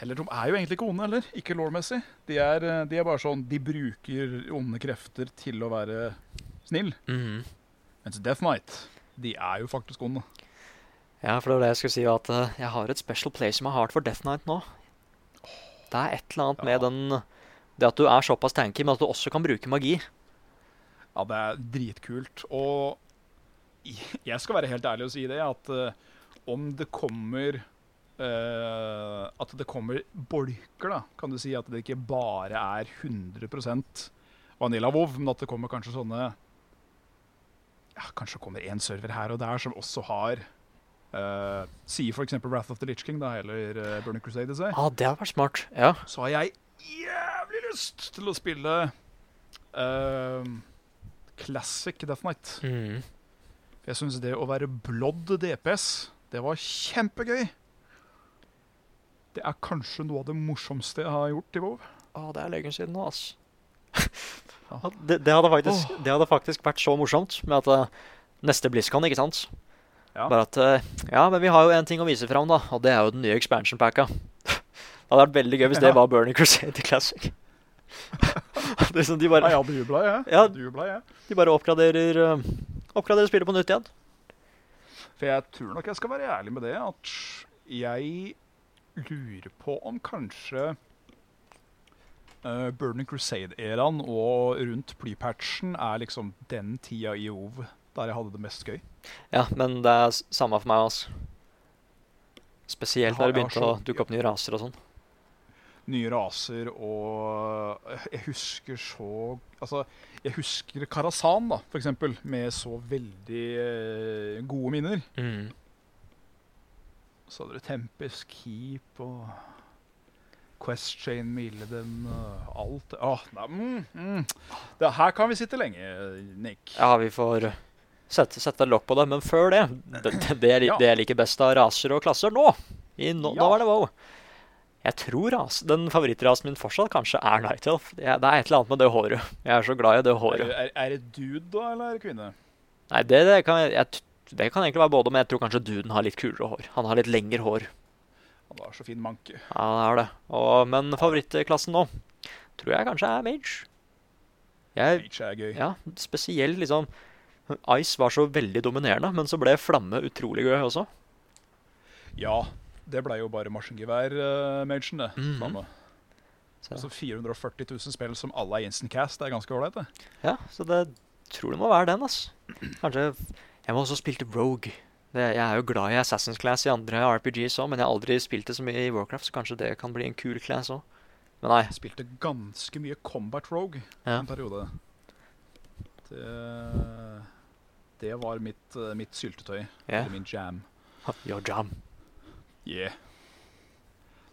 B: Eller de er jo egentlig ikke onde, eller? Ikke lawmessig. De er, eh, de er bare sånn De bruker onde krefter til å være snill.
C: Mhm.
B: Mens Death Knight, de er jo faktisk onde.
C: Ja, for det var det jeg skulle si, at eh, jeg har et special place i my heart for Death Knight nå. Det er et eller annet med
B: Ja.
C: den Det at du er såpass tanky, men at du også kan bruke magi.
B: Ja, det er dritkult. Og i- jeg skal være helt ærlig og si det, at eh, om det kommer eh, At det kommer bolker, da, kan du si. At det ikke bare er 100 Vanilla WoW, men at det kommer kanskje sånne ja, Kanskje det kommer én server her og der som også har uh, Sier f.eks. Wrath of the Litch King da, eller uh, Burning Crusade i seg
C: Ja, ah, det hadde vært smart. Ja.
B: så har jeg jævlig lyst til å spille ehm, Classic Death Knight.
C: Mhm.
B: Jeg syns det å være blodd DPS, det var kjempegøy. Det er kanskje noe av det morsomste jeg har gjort i WoW.
C: Å, Ah, det er lenge siden nå, ass.
B: Ja.
C: Ja, det, det, hadde faktisk, det hadde faktisk vært så morsomt med at eh, neste BlizzCon, ikke sant?
B: Ja.
C: Bare at eh, Ja, men vi har jo en ting å vise fram, da, og det er jo den nye expansion packa. Det hadde vært veldig gøy hvis det
B: Ja.
C: var Burning Crusade Classic. det er sånn, de,
B: Nei,
C: bare,
B: jeg hadde jubla, jeg.
C: Ja.
B: Jeg hadde Ah, jublet, jeg.
C: de bare oppgraderer eh, Oppgraderer spillet på nytt igjen.
B: For jeg tror nok jeg skal være ærlig med det, at jeg lurer på om kanskje eh, Burning Crusade-eraen og rundt plypatchen er liksom den tida i OV der jeg hadde det mest gøy.
C: Ja, men det er s- samme for meg, altså. Spesielt
B: Jeg har-
C: når det
B: jeg har
C: begynte å
B: så-
C: dukke opp nye raser og sånn.
B: Nye raser og eh, Jeg husker så Altså, jeg husker Karasan, da, for eksempel, med så veldig eh, gode minner.
C: Mm.
B: Så hadde du Tempest Keep og Quest Chain Milleden og alt. Åh, nei, mm, mm. Det her kan vi sitte lenge, Nick.
C: Ja, vi får eh, sette, sette lokk på det. Men før det Det, det, jeg, li-
B: Ja.
C: det jeg liker best av raser og klasser nå i nå,
B: Ja.
C: nå er det wow. Jeg tror ras, den favorittrasen min fortsatt kanskje er Night Elf. Det er, det er et eller annet med det håret. Jeg er så glad i det
B: Er,
C: håret.
B: er, er det dude, da, eller er det kvinne?
C: Nei, det, det, kan, jeg, jeg, t- det kan egentlig være både, men jeg tror kanskje duden har litt kulere hår. Han har litt lengre hår.
B: Han har så fin manke.
C: Ja, han har det. Og, men favorittklassen nå tror jeg kanskje er Mage. Jeg
B: Mage er gøy.
C: Ja, spesielt liksom Ice var så veldig dominerende, men så ble Flamme utrolig gøy også.
B: Ja, det ble jo bare maskingevær-magen, det.
C: Mhm.
B: Samme.
C: Så,
B: Så 440 000 spill som alle er instant cast, det er ganske ålreit, det.
C: ja, så det tror det må være den, ass. Kanskje Jeg må også spilte Rogue. Det, jeg er jo glad i Assassin's Class i andre RPGs òg, men jeg har aldri spilt det så mye i Warcraft, så kanskje det kan bli en kul class òg. Men nei.
B: Spilte ganske mye Combat Rogue
C: Ja.
B: en periode. Det, det var mitt, eh, mitt syltetøy.
C: Yeah.
B: Eller min jam.
C: Your jam.
B: Yeah.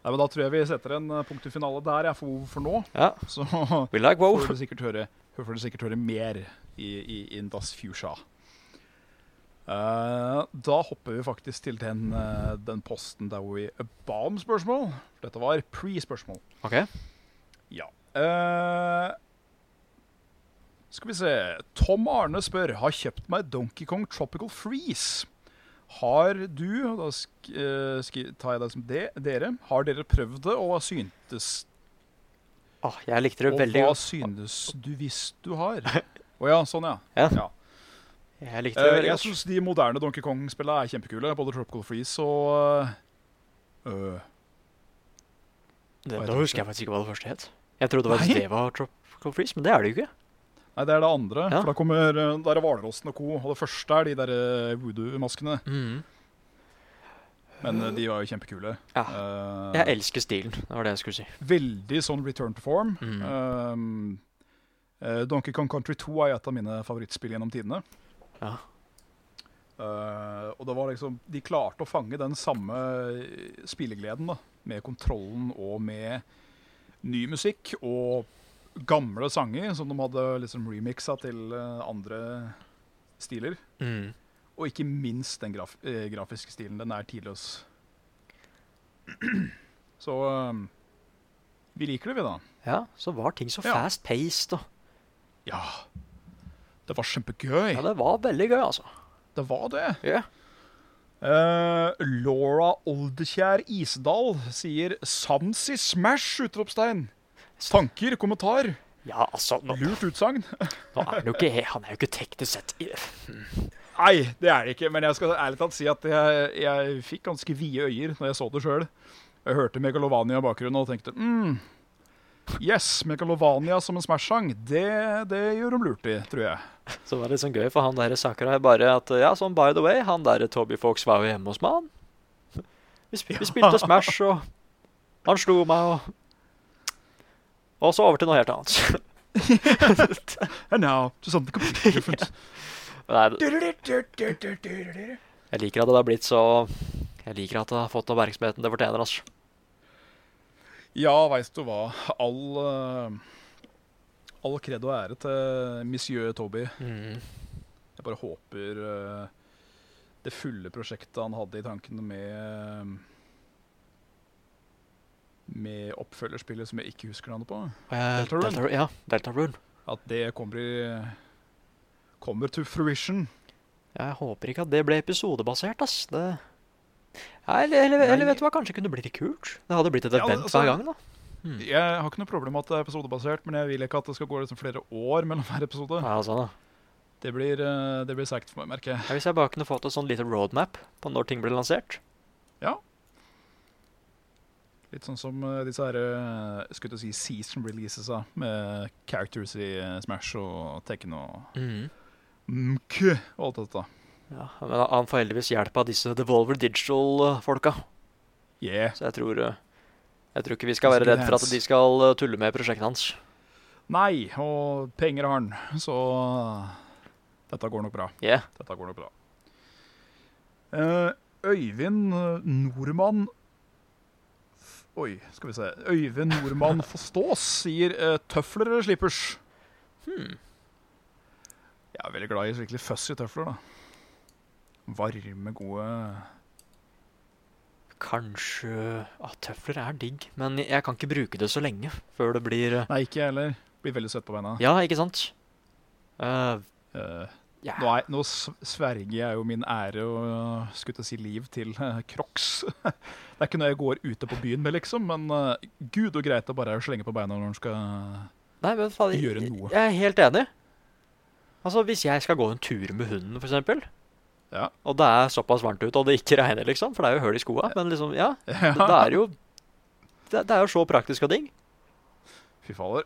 B: Nei, men Da tror jeg vi setter en eh, punktum finale der jeg for, for nå.
C: Ja. Oh.
B: Så
C: We like wow.
B: får du sikkert høre, får du sikkert høre mer i, i in Das Fuchsia. Eh, da hopper vi faktisk til den, eh, den posten der hvor vi ba om spørsmål. Dette var pre-spørsmål.
C: OK.
B: Ja. Eh, skal vi se Tom Arne spør Har kjøpt meg Donkey Kong Tropical Freeze. Har du og Da sk eh, skri- tar jeg deg som det, dere. Har dere prøvd det, og hva syntes
C: Åh, jeg likte det
B: Og
C: veldig
B: hva
C: godt.
B: synes du hvis du har? Å ja, sånn, ja.
C: Jeg likte det
B: Eh, jeg
C: veldig godt.
B: syns de moderne Donkey Kong-spillene er kjempekule. Både Tropical Freeze og eh, øh,
C: Det,
B: jeg
C: nå
B: tror
C: husker jeg faktisk ikke hva det første het. Jeg trodde
B: Nei.
C: faktisk det var Tropical Freeze, men det er det jo ikke.
B: Nei, det er det andre.
C: Ja.
B: For da kommer eh, Der er Hvalrossen og co. Og det første er de der eh, voodoo-maskene.
C: Mm.
B: Men eh, de var jo kjempekule.
C: Ja.
B: Eh,
C: Jeg elsker stilen, det var det jeg skulle si.
B: veldig sånn return to form.
C: Mm.
B: Um, eh, Donkey Kong Country 2 er et av mine favorittspill gjennom tidene.
C: Ja.
B: Eh, og det var liksom De klarte å fange den samme eh, spillegleden, da. Med kontrollen og med ny musikk og gamle sanger som de hadde liksom remixa til eh, andre stiler.
C: Mm.
B: Og ikke minst den graf eh, grafiske stilen. Den er tidløs. Så eh, vi liker det, vi, da.
C: Ja, så var ting så
B: Ja.
C: fast-paced og
B: Ja. Det var kjempegøy.
C: Ja, det var veldig gøy, altså.
B: Det var det.
C: Ja.
B: Eh, Laura Oldekjær Isdal sier 'Sams i Smash!' utropstegn. Tanker, kommentar,
C: Ja, altså, nå,
B: lurt utsagn.
C: nå er han jo ikke he- Han er jo ikke teknisk sett i-
B: Nei, det er det ikke, men jeg skal ærlig talt si at jeg, jeg fikk ganske vide øyer når jeg så det sjøl. Jeg hørte Megalovania i bakgrunnen og tenkte mm, Yes, Megalovania som en Smash-sang, det, det gjør de lurt i, tror jeg.
C: Så var det sånn gøy for han der Sakurai bare at Ja, sånn by the way, han der Toby Fox var jo hjemme hos meg, han. Vi, spil vi spilte Smash, og han slo meg, og Og så over til noe helt annet.
B: And now to something completely different.
C: Nei, det- jeg liker at det har blitt så Jeg liker at det har fått oppmerksomheten det fortjener, altså.
B: Ja, veit du hva. All, eh, all kred og ære til Monsieur Toby.
C: Mm.
B: Jeg bare håper eh, det fulle prosjektet han hadde i tankene med eh, med oppfølgerspillet som jeg ikke husker navnet på,
C: Eh,
B: Deltarune?
C: Deltarune, Ja, Deltarune.
B: at det kommer, i, kommer to fruition.
C: Jeg håper ikke at det ble episodebasert, ass. Det Nei, eller, eller, eller vet du hva, kanskje kunne bli litt kult? Det hadde blitt et
B: Ja,
C: event
B: altså-
C: hver gang, da.
B: Jeg har ikke noe problem med at det er episodebasert, men jeg vil ikke at det skal gå liksom flere år mellom hver episode.
C: Ja, sånn, da.
B: Det blir, eh, det blir seigt for meg, merker jeg.
C: Ja, hvis jeg bare kunne fått en sånn liten roadmap på når ting ble lansert.
B: Litt sånn som eh, disse her, eh, skulle til å si season releases da, med characters i eh, Smash og Tekken og
C: Mm.
B: MK og alt dette.
C: Ja, men han får heldigvis hjelp av disse Devolver Digital-folka.
B: Yeah.
C: Så jeg tror, eh, jeg tror ikke vi skal
B: Mr.
C: være redd for at
B: Hans.
C: de skal eh, tulle med prosjektet hans.
B: Nei, og penger har han, så dette går nok bra.
C: Yeah.
B: Dette går nok bra. Eh, Øyvind eh, Nordmann F- Oi, skal vi se. Øyvind Nordmann Forstås sier eh, 'tøfler eller slippers'?
C: Hmm.
B: Jeg er veldig glad i skikkelig fussy tøfler, da. Varme, gode
C: Kanskje ah, Tøfler er digg, men jeg kan ikke bruke det så lenge før det blir eh,
B: Nei, ikke jeg heller. Blir veldig søt på beina.
C: Ja, ikke sant? Eh,
B: Eh,
C: ja.
B: nå, er, nå s- sverger jeg jo min ære og øh, skulle til å si liv til eh, Crocs. det er ikke noe jeg går ute på byen med, liksom, men eh, gud og greit å bare slenge på beina når en skal
C: Nei, men faen,
B: gjøre
C: jeg,
B: noe.
C: jeg er helt enig. Altså, Hvis jeg skal gå en tur med hunden, f.eks.,
B: Ja.
C: og det er såpass varmt ute, og det ikke regner, liksom, for det er jo hull i skoa, men liksom, ja, Da da er det jo det, det er jo så praktisk og digg.
B: Fy fader.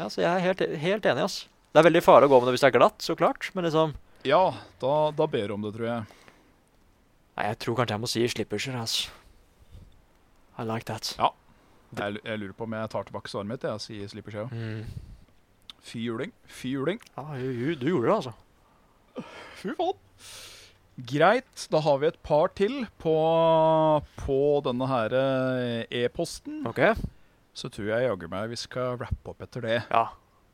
C: Ja, så jeg er helt, helt enig, ass. Det er veldig farlig å gå med det hvis det er glatt, så klart, men liksom
B: Ja, da, da ber du om det, tror jeg.
C: Nei, jeg tror kanskje jeg må si slipperser, ass. I like that.
B: Jeg, lu- jeg lurer på om jeg tar tilbake svaret mitt, jeg, sier Slippersjø.
C: Mm.
B: Fy juling. Fy juling.
C: Ja, ju, ju, du gjorde det, altså.
B: Fy faen. Greit, da har vi et par til på, på denne her eh, e-posten.
C: OK?
B: Så tror jeg jaggu meg vi skal rappe opp etter det.
C: Ja.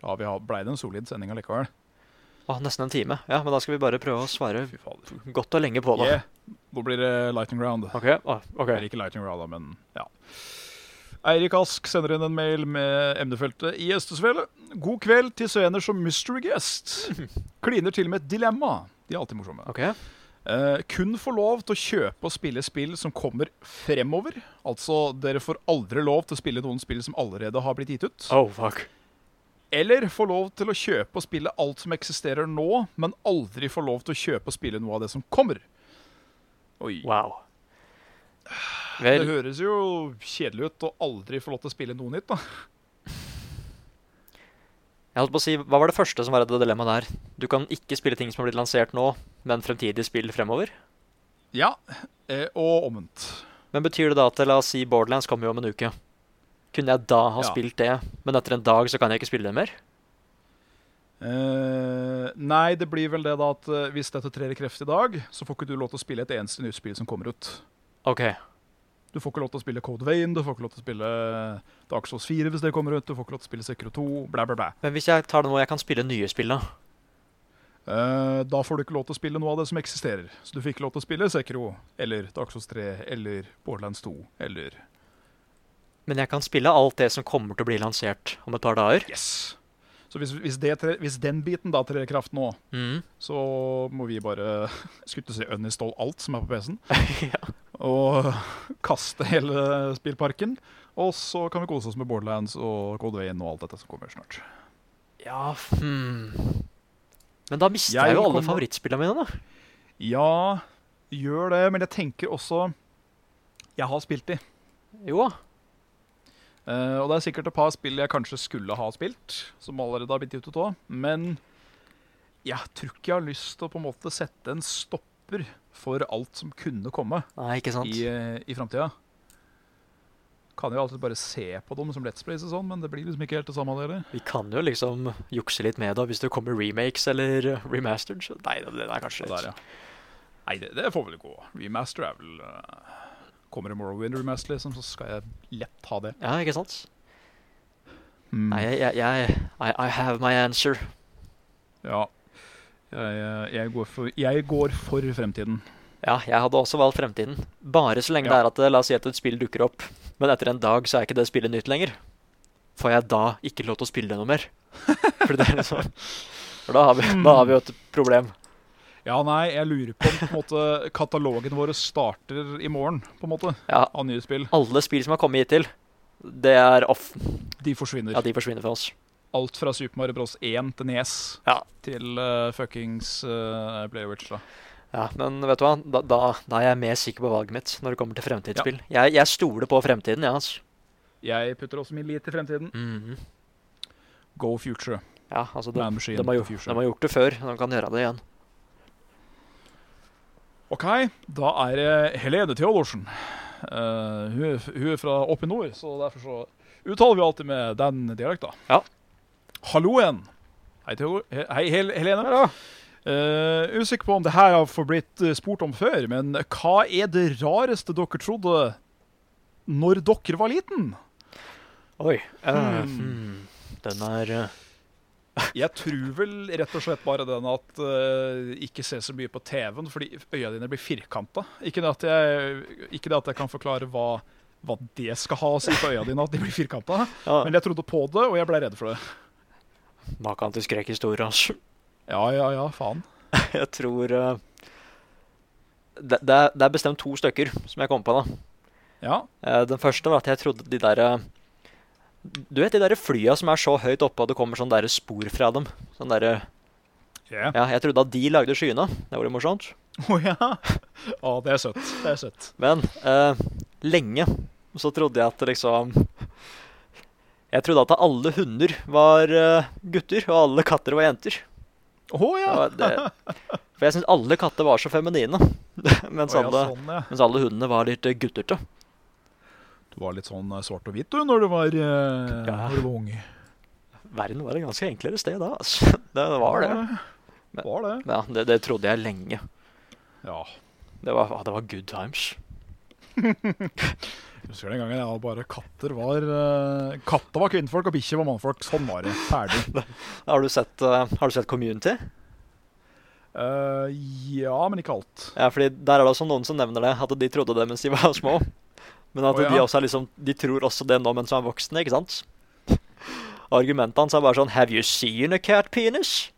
B: Ja, vi har- ble det en solid sending allikevel.
C: Å, nesten en time. Ja, men da skal vi bare prøve å svare
B: Fy fader.
C: godt og lenge på det.
B: Yeah. Nå blir det lightning round.
C: OK? Å, OK.
B: Eller ikke lightning round, da, men ja. Eirik Ask sender inn en mail med emnefeltet i Østesvele. God kveld til sener som mystery guest. Kliner til med et dilemma. De er alltid morsomme.
C: Ok.
B: Eh, kun få lov til å kjøpe og spille spill som kommer fremover. Altså, dere får aldri lov til å spille noen spill som allerede har blitt gitt ut.
C: Oh, fuck.
B: Eller få lov til å kjøpe og spille alt som eksisterer nå, men aldri få lov til å kjøpe og spille noe av det som kommer. Oi.
C: Wow.
B: Det
C: Vel,
B: høres jo kjedelig ut å aldri få lov til å spille noe nytt, da.
C: jeg holdt på å si, hva var det første som var det dilemmaet der? Du kan ikke spille ting som har blitt lansert nå, men fremtidige spill fremover?
B: Ja, eh, og omvendt.
C: Men betyr det da at la oss si Borderlands kommer jo om en uke? Kunne jeg da ha
B: Ja.
C: spilt det, men etter en dag så kan jeg ikke spille det mer?
B: Eh, nei, det blir vel det da at eh, hvis dette trer i kreft i dag, så får ikke du lov til å spille et eneste nytt spill som kommer ut.
C: OK.
B: Du får ikke lov til å spille Code Vein, du får ikke lov til å spille Dark Souls 4 hvis det kommer ut, du får ikke lov til å spille Sekro 2, blæ, blæ, blæ.
C: Men hvis jeg tar det nå, jeg kan spille nye spill, da?
B: Eh, da får du ikke lov til å spille noe av det som eksisterer. Så du fikk lov til å spille Sekro, eller Dark Souls 3, eller Borderlands 2, eller
C: Men jeg kan spille alt det som kommer til å bli lansert om et par dager?
B: Yes! Så hvis, hvis, det tre, hvis den biten da trer i kraft nå,
C: Mm.
B: så må vi bare skulle til å si uninstall alt som er på PC-en,
C: ja.
B: og kaste hele spillparken. Og så kan vi kose oss med Borderlands og Code Vein og alt dette som kommer snart.
C: ja hmm. Men da mister
B: Jeg
C: jeg jo alle
B: kommer-
C: favorittspillene mine, da.
B: Ja, gjør det, men jeg tenker også Jeg har spilt de.
C: Jo da.
B: Eh, og det er sikkert et par spill jeg kanskje skulle ha spilt, som allerede har blitt gitt ut òg. Men jeg tror ikke jeg har lyst til å på en måte sette en stopper for alt som kunne komme
C: Nei, ikke sant.
B: i, eh, i framtida. Kan jo alltid bare se på dem som Let's Plays og sånn, men det blir liksom ikke helt det samme. av det heller.
C: Vi kan jo liksom jukse litt med det hvis det kommer remakes eller eh, remastered. Så nei, det det er kanskje
B: Så
C: litt
B: der, ja. Nei, det, det får vel gå. Remaster er vel eh, Kommer det Morrowind remaster, liksom, så skal jeg lett ha det.
C: Ja, ikke sant?
B: Mm.
C: Nei, jeg, jeg, jeg I, I have my answer.
B: Ja. Jeg, eh, jeg, går for, jeg går for fremtiden.
C: Ja, jeg hadde også valgt fremtiden. Bare så lenge det
B: Ja.
C: er at eh, la oss si at et spill dukker opp, men etter en dag så er ikke det spillet nytt lenger. Får jeg da ikke lov til å spille det noe mer? For det er liksom For da har vi, da har vi jo et problem.
B: Ja, nei, jeg lurer på om på en måte, katalogen vår starter i morgen, på en måte,
C: Ja,
B: av nye spill.
C: alle spill som har kommet hittil, det er off.
B: De forsvinner.
C: Ja, de forsvinner for oss.
B: Alt fra Super Mario Bros. 1 til Nes
C: Ja.
B: til uh, fuckings uh, Playwitch, da.
C: Ja, men vet du hva, da, da, da er jeg mer sikker på valget mitt når det kommer til fremtidsspill. Jeg, jeg stoler på fremtiden, ja, altså.
B: Jeg putter også min lit til fremtiden.
C: Mhm.
B: Go future.
C: Ja, altså, de,
B: Man machine
C: de, har jo,
B: future.
C: de har gjort det før, de kan gjøre det igjen.
B: OK, da er det Helene Theodorsen. Eh, hun, er f- hun er fra oppe i nord, så derfor så uttaler vi alltid med den dialekta.
C: Ja.
B: Hallo igjen. Hei, Theo he- Hei Hel Helene. Eh, usikker på om det her har forblitt eh, spurt om før, men hva er det rareste dere trodde når dere var liten?
C: Oi. eh,
B: Hmm.
C: hmm. Den er eh,
B: Jeg tror vel rett og slett bare den at eh, ikke se så mye på TV-en, fordi øya dine blir firkanta. Ikke, det at jeg- ikke det at jeg kan forklare hva, hva det skal ha å si på øya dine, at de blir firkanta,
C: ja,
B: men jeg trodde på det, og jeg ble redd for det.
C: Maken til skrekkhistorie, altså.
B: Ja, ja, ja, faen.
C: Jeg tror eh, det, det, er, det er bestemt to stykker som jeg kom på, da.
B: Ja,
C: Eh, den første var at jeg trodde de der eh, Du vet de der flya som er så høyt oppe at det kommer sånn der spor fra dem? Sånn der, eh,
B: yeah.
C: ja, Jeg trodde at de lagde skyene. Det var litt morsomt.
B: Å, ja. Å, det er søtt. Det er søtt.
C: Men eh, lenge så trodde jeg at liksom Jeg trodde at alle hunder var eh, gutter, og alle katter var jenter.
B: Å
C: Det
B: ja!
C: var- det, for jeg syns alle katter var så feminine. Mens,
B: Å, ja,
C: alle,
B: sånn, ja.
C: mens alle hundene var litt eh, gutterte.
B: Du var litt sånn eh, svart og hvit du når du var, eh,
C: Ja.
B: når du var ung.
C: Verden var et ganske enklere sted da. Altså. Det var det. Men-
B: Var det.
C: Ja, det, det trodde jeg lenge.
B: Ja.
C: Det var, ah, det var good times.
B: Jeg husker den gangen jeg var bare katter var eh, Katter var kvinnfolk, og bikkjer var mannfolk. Sånn var det. Ferdig.
C: Har du sett, eh, har du sett Community?
B: Eh, ja, men ikke alt.
C: Ja, fordi Der er det også noen som nevner det, at de trodde det mens de var små. Men at
B: Å, ja.
C: de også er liksom De tror også det nå mens de er voksne, ikke sant? Argumentet hans er bare sånn Have you seen a cat penis?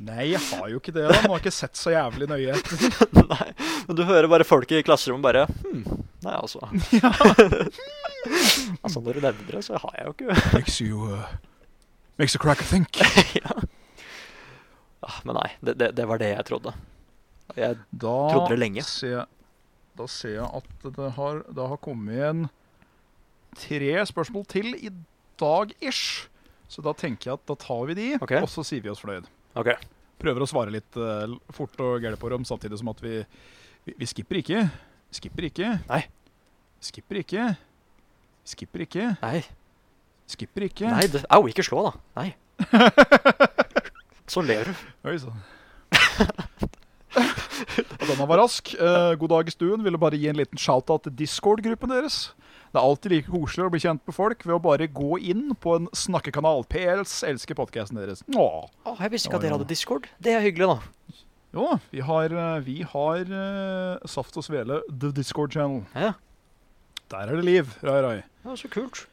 B: Nei, jeg har jo ikke det. da. Man har ikke sett så jævlig nøye etter.
C: Nei. Men du hører bare folk i klasserommet bare Hm, nei, altså. altså, når du nevner det, så har jeg jo ikke
B: Makes you, uh, makes you crack a think.
C: ah, Men nei, det, det, det var det jeg trodde. Jeg,
B: Da
C: Trodde det lenge.
B: Ser jeg, da ser jeg at det har, det har kommet igjen tre spørsmål til i dag-ish. Så da tenker jeg at da tar vi de,
C: Ok.
B: og så sier vi oss fornøyd.
C: OK.
B: Prøver å svare litt eh, l- fort og gæli på dem, samtidig som at vi, vi, vi skipper ikke. Skipper ikke.
C: Nei.
B: Skipper ikke. Skipper ikke.
C: Nei.
B: Skipper ikke.
C: Nei, det, au, ikke slå, da. Nei. Sånn ler du.
B: Oi sann. Og Denne var rask. Eh, god dag i stuen. Ville bare gi en liten shout-out til Discord-gruppen deres. Det er alltid like koselig å bli kjent med folk ved å bare gå inn på en snakkekanal. PLs elsker podkasten deres. Åh.
C: Å, jeg visste ikke at
B: Ja,
C: dere
B: ja.
C: hadde discord. Det er hyggelig, da.
B: Jo da, vi har, eh, vi har eh, Saft og Svele, The Discord Channel.
C: Ja,
B: Der er det liv. Rai, rai.
C: ja så kult.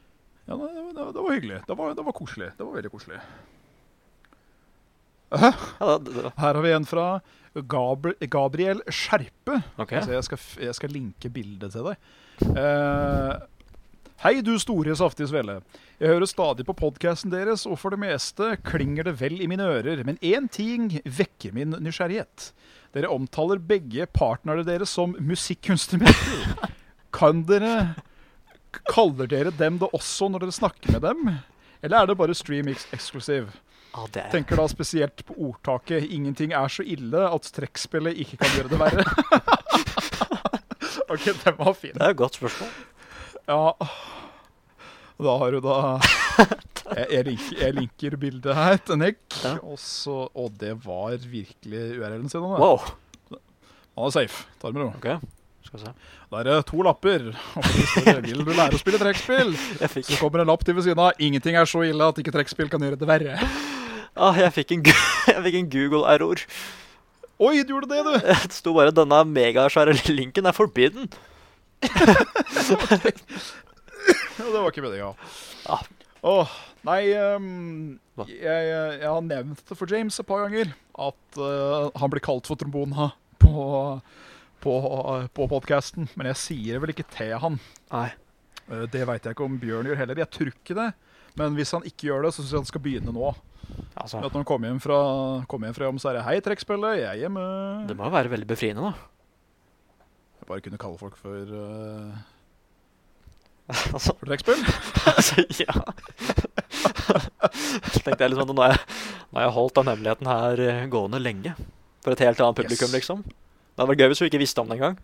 B: Ja, det, det, det det var hyggelig. Det var, det var koselig. Det var veldig koselig. Aha,
C: Ja, det, det,
B: her har vi en fra Gabri Gabriel Skjerpe.
C: ok.
B: Altså, jeg, skal, f- jeg skal linke bildet til deg. Eh, Hei, du store, saftige svelle. Jeg hører stadig på podkasten deres, og for det meste klinger det vel i mine ører, men én ting vekker min nysgjerrighet. Dere omtaler begge partnerne deres som musikkunstnermester. Kan dere Kaller dere dem det også når dere snakker med dem? Eller er det bare stream eks- eksklusiv?
C: Ja, det er
B: Tenker da spesielt på ordtaket 'ingenting er så ille at trekkspillet ikke kan gjøre det verre'. OK, den var fin.
C: Det er et godt spørsmål.
B: Ja. Da har du da Jeg, jeg, linker, jeg linker bildet her til Nick.
C: Ja.
B: Og, så, og det var virkelig URL-en sin. Han
C: Wow.
B: er safe. Ta det med ro.
C: Ok, skal vi se.
B: Da er det to lapper. Og på det står det, Vil du lære å spille trekkspill?
C: Jeg fikk,
B: Så kommer en lapp til ved siden av. Ingenting er så ille at ikke trekkspill kan gjøre det verre.
C: ah, jeg fikk en, gu- jeg fikk en Google-error.
B: Oi, du gjorde det, du!
C: Det sto bare 'denne megasvære linken er forbidden'.
B: Ja, det var ikke meninga.
C: Ja.
B: Åh, nei ehm,
C: Hva?
B: jeg, jeg har nevnt det for James et par ganger. At eh, han blir kalt for trombona på, på, på podkasten. Men jeg sier det vel ikke til han.
C: Nei.
B: Eh, det veit jeg ikke om Bjørn gjør heller. Jeg tror ikke det. Men hvis han ikke gjør det, så syns jeg han skal begynne nå.
C: Altså,
B: At når han kommer hjem fra, kommer hjem fra jobb, så er det 'Hei, trekkspillet, jeg er hjemme'.
C: det må jo være veldig befriende, da.
B: Jeg bare kunne kalle folk for, eh,
C: Altså,
B: for trekkspill.
C: altså ja. Så tenkte jeg liksom at nå har jeg, nå har jeg holdt den hemmeligheten her eh, gående lenge. For et helt annet publikum,
B: Yes.
C: liksom. Det hadde vært gøy hvis du ikke visste om det engang.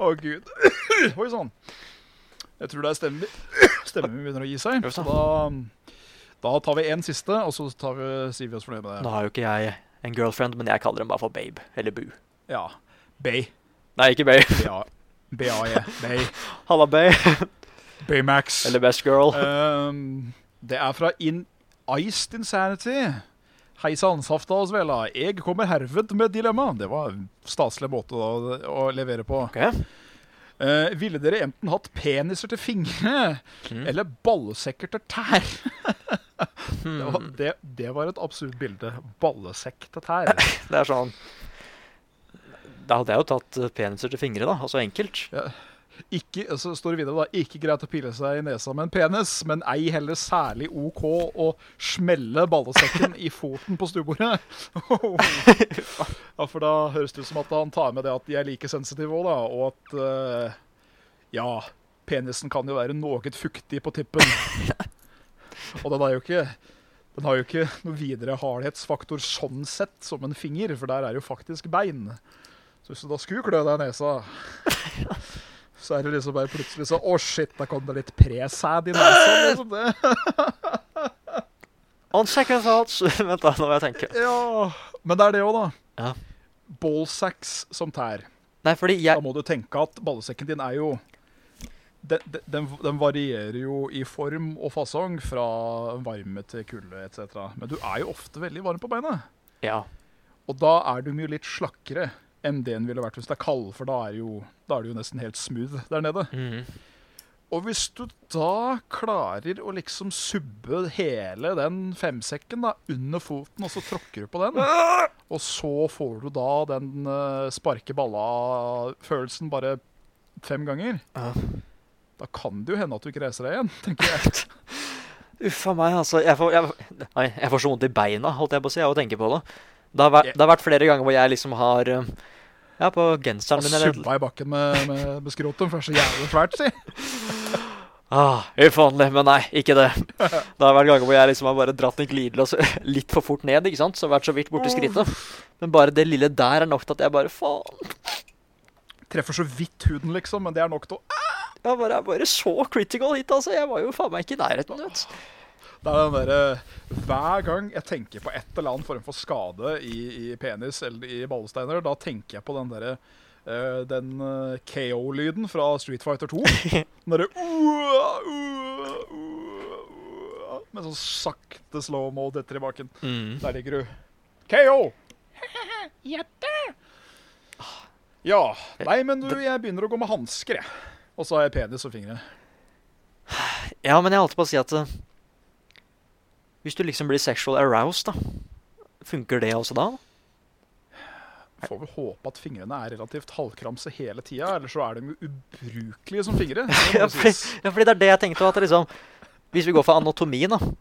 B: Å, gud. Oi sann. Jeg tror det er stemmen min. Stemmen min begynner å gi seg.
C: Ja,
B: Så
C: sant.
B: da, da tar vi én siste, og så tar vi, sier vi oss fornøyd med det.
C: Nå har jo ikke jeg en girlfriend, men jeg kaller den bare for babe. Eller bu.
B: Ja. Bay.
C: Nei, ikke babe.
B: B-A- BAE. E. Bay.
C: Halla, babe.
B: Baymax.
C: Eller best girl.
B: Ehm, det er fra In Iced Insanity. Hei sann, Safta og Svela. Jeg kommer herved med dilemma. Det var en staselig måte å, å levere på.
C: Ok.
B: Eh, ville dere enten hatt peniser til fingre
C: Mm.
B: eller ballesekker til tær? Det var,
C: Hmm.
B: det, det var et absurd bilde. Ballesekk til tær.
C: Det er sånn Da hadde jeg jo tatt eh, peniser til fingre, da. Altså enkelt.
B: Ikke, så står det videre da, ikke greit å pille seg i nesa med en penis, men ei heller særlig OK å smelle ballesekken i foten på stuebordet. ja, for da høres det ut som at han tar med det at de er like sensitive òg, da, og at eh, Ja, penisen kan jo være noe fuktig på tippen. Og den er jo ikke den har jo ikke noe videre hardhetsfaktor sånn sett som en finger, for der er jo faktisk bein. Så hvis du da skulle klø deg i nesa, så er det liksom bare plutselig så Å, shit, da kom det litt presæd i nesa. Liksom det.
C: On second thoughts Vent, da, nå må jeg tenke.
B: Ja. Men det er det òg, da.
C: Ja.
B: Ballsacks som tær.
C: Nei, fordi
B: Da
C: jeg
B: må du tenke at ballesekken din er jo den, den- den, den varierer jo i form og fasong fra varme til kulde etc. Men du er jo ofte veldig varm på beina.
C: Ja.
B: Og da er de jo litt slakkere enn det en ville vært hvis det er kald, for da er, jo, da er det jo nesten helt smooth der nede.
C: Mhm.
B: Og hvis du da klarer å liksom subbe hele den femsekken da, under foten, og så tråkker du på den,
C: Ah!
B: og så får du da den eh, sparke balla-følelsen bare fem ganger,
C: Ja.
B: da kan det jo hende at du ikke reiser deg igjen, tenker jeg.
C: Uff a meg, altså. Jeg får, jeg, nei, jeg får så vondt i beina, holdt jeg på å si, av å tenke på det. Det har, vært, det har vært flere ganger hvor jeg liksom har eh, Ja, på genseren min eller
B: Subba i bakken med, med, med skrotum, for det er så jævlig svært, si.
C: ah, Uff åndelig, men nei, ikke det. Det har vært ganger hvor jeg liksom har bare dratt den glidelås litt for fort ned, ikke sant. Så vært så vidt borti skrittet. Men bare det lille der er nok til at jeg bare faen.
B: Treffer så vidt huden, liksom, men det er nok til å
C: Jeg bare, jeg bare så critical hit, altså. Jeg var jo faen meg ikke i nærheten, vet du.
B: Det er den derre Hver gang jeg tenker på et eller annet form for skade i, i penis eller i ballesteiner, da tenker jeg på den derre eh, den eh, KO-lyden fra Street Fighter 2. Den derre «Ua, ua, ua, ua», Med sånn sakte slow-mo detter i baken. Der ligger du. KO! Jette! Ah, Ja. Nei, men du, jeg begynner å gå med hansker, jeg. Og så har jeg penis og fingre.
C: Ja, men jeg holdt på å si at eh, Hvis du liksom blir sexual aroused, da, funker det også da?
B: Får vel håpe at fingrene er relativt halvkramse hele tida, eller så er de jo ubrukelige som fingre. det må
C: Ja,
B: jo
C: fordi,
B: sies.
C: ja, fordi det er det jeg tenkte. At det liksom, hvis vi går for anatomien, da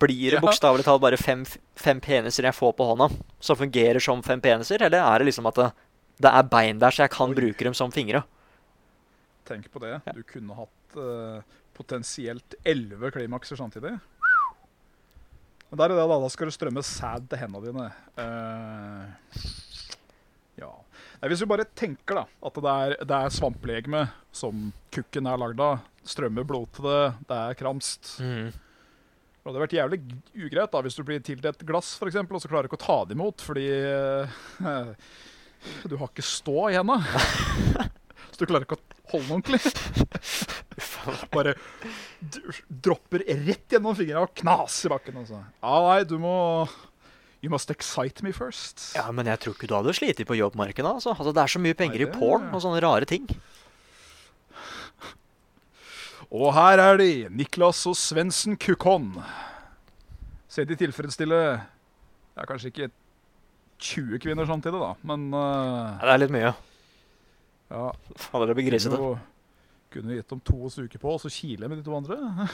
C: Blir det
B: Ja.
C: bokstavelig talt bare fem, fem peniser jeg får på hånda, som fungerer som fem peniser? Eller er det liksom at det, det er bein der, så jeg kan
B: Oi.
C: bruke dem som fingre?
B: Tenk på det. Du kunne hatt eh, potensielt elleve klimakser samtidig. Men der er det, da. Da skal du strømme sæd til hendene dine. Eh, ja Nei, Hvis vi bare tenker da, at det er, det er svamplegeme som kukken er lagd av, strømmer blod til det, det er kramst
C: Mm.
B: Det hadde vært jævlig g- ugreit da, hvis du blir tildelt et glass for eksempel, og så klarer du ikke å ta det imot, fordi eh, du har ikke stå i henda. Så du klarer ikke å holde den ordentlig. Bare d- dropper rett gjennom fingrene og knas i bakken. Altså. Ja, nei, du må You must excite me first.
C: Ja, men jeg tror ikke du hadde slitt på jobbmarkedet. Altså. altså, det er så mye penger
B: Nei,
C: i
B: det-
C: porn og sånne rare ting.
B: Og her er de, Niklas og Svendsen Kukon. Se de tilfredsstille Ja, kanskje ikke 20 kvinner samtidig, da, men eh,
C: Ja, det er litt mye.
B: ja,
C: Fader, det blir grisete.
B: Kunne jo- Kunne gitt dem to uker på, og så kile med de to andre.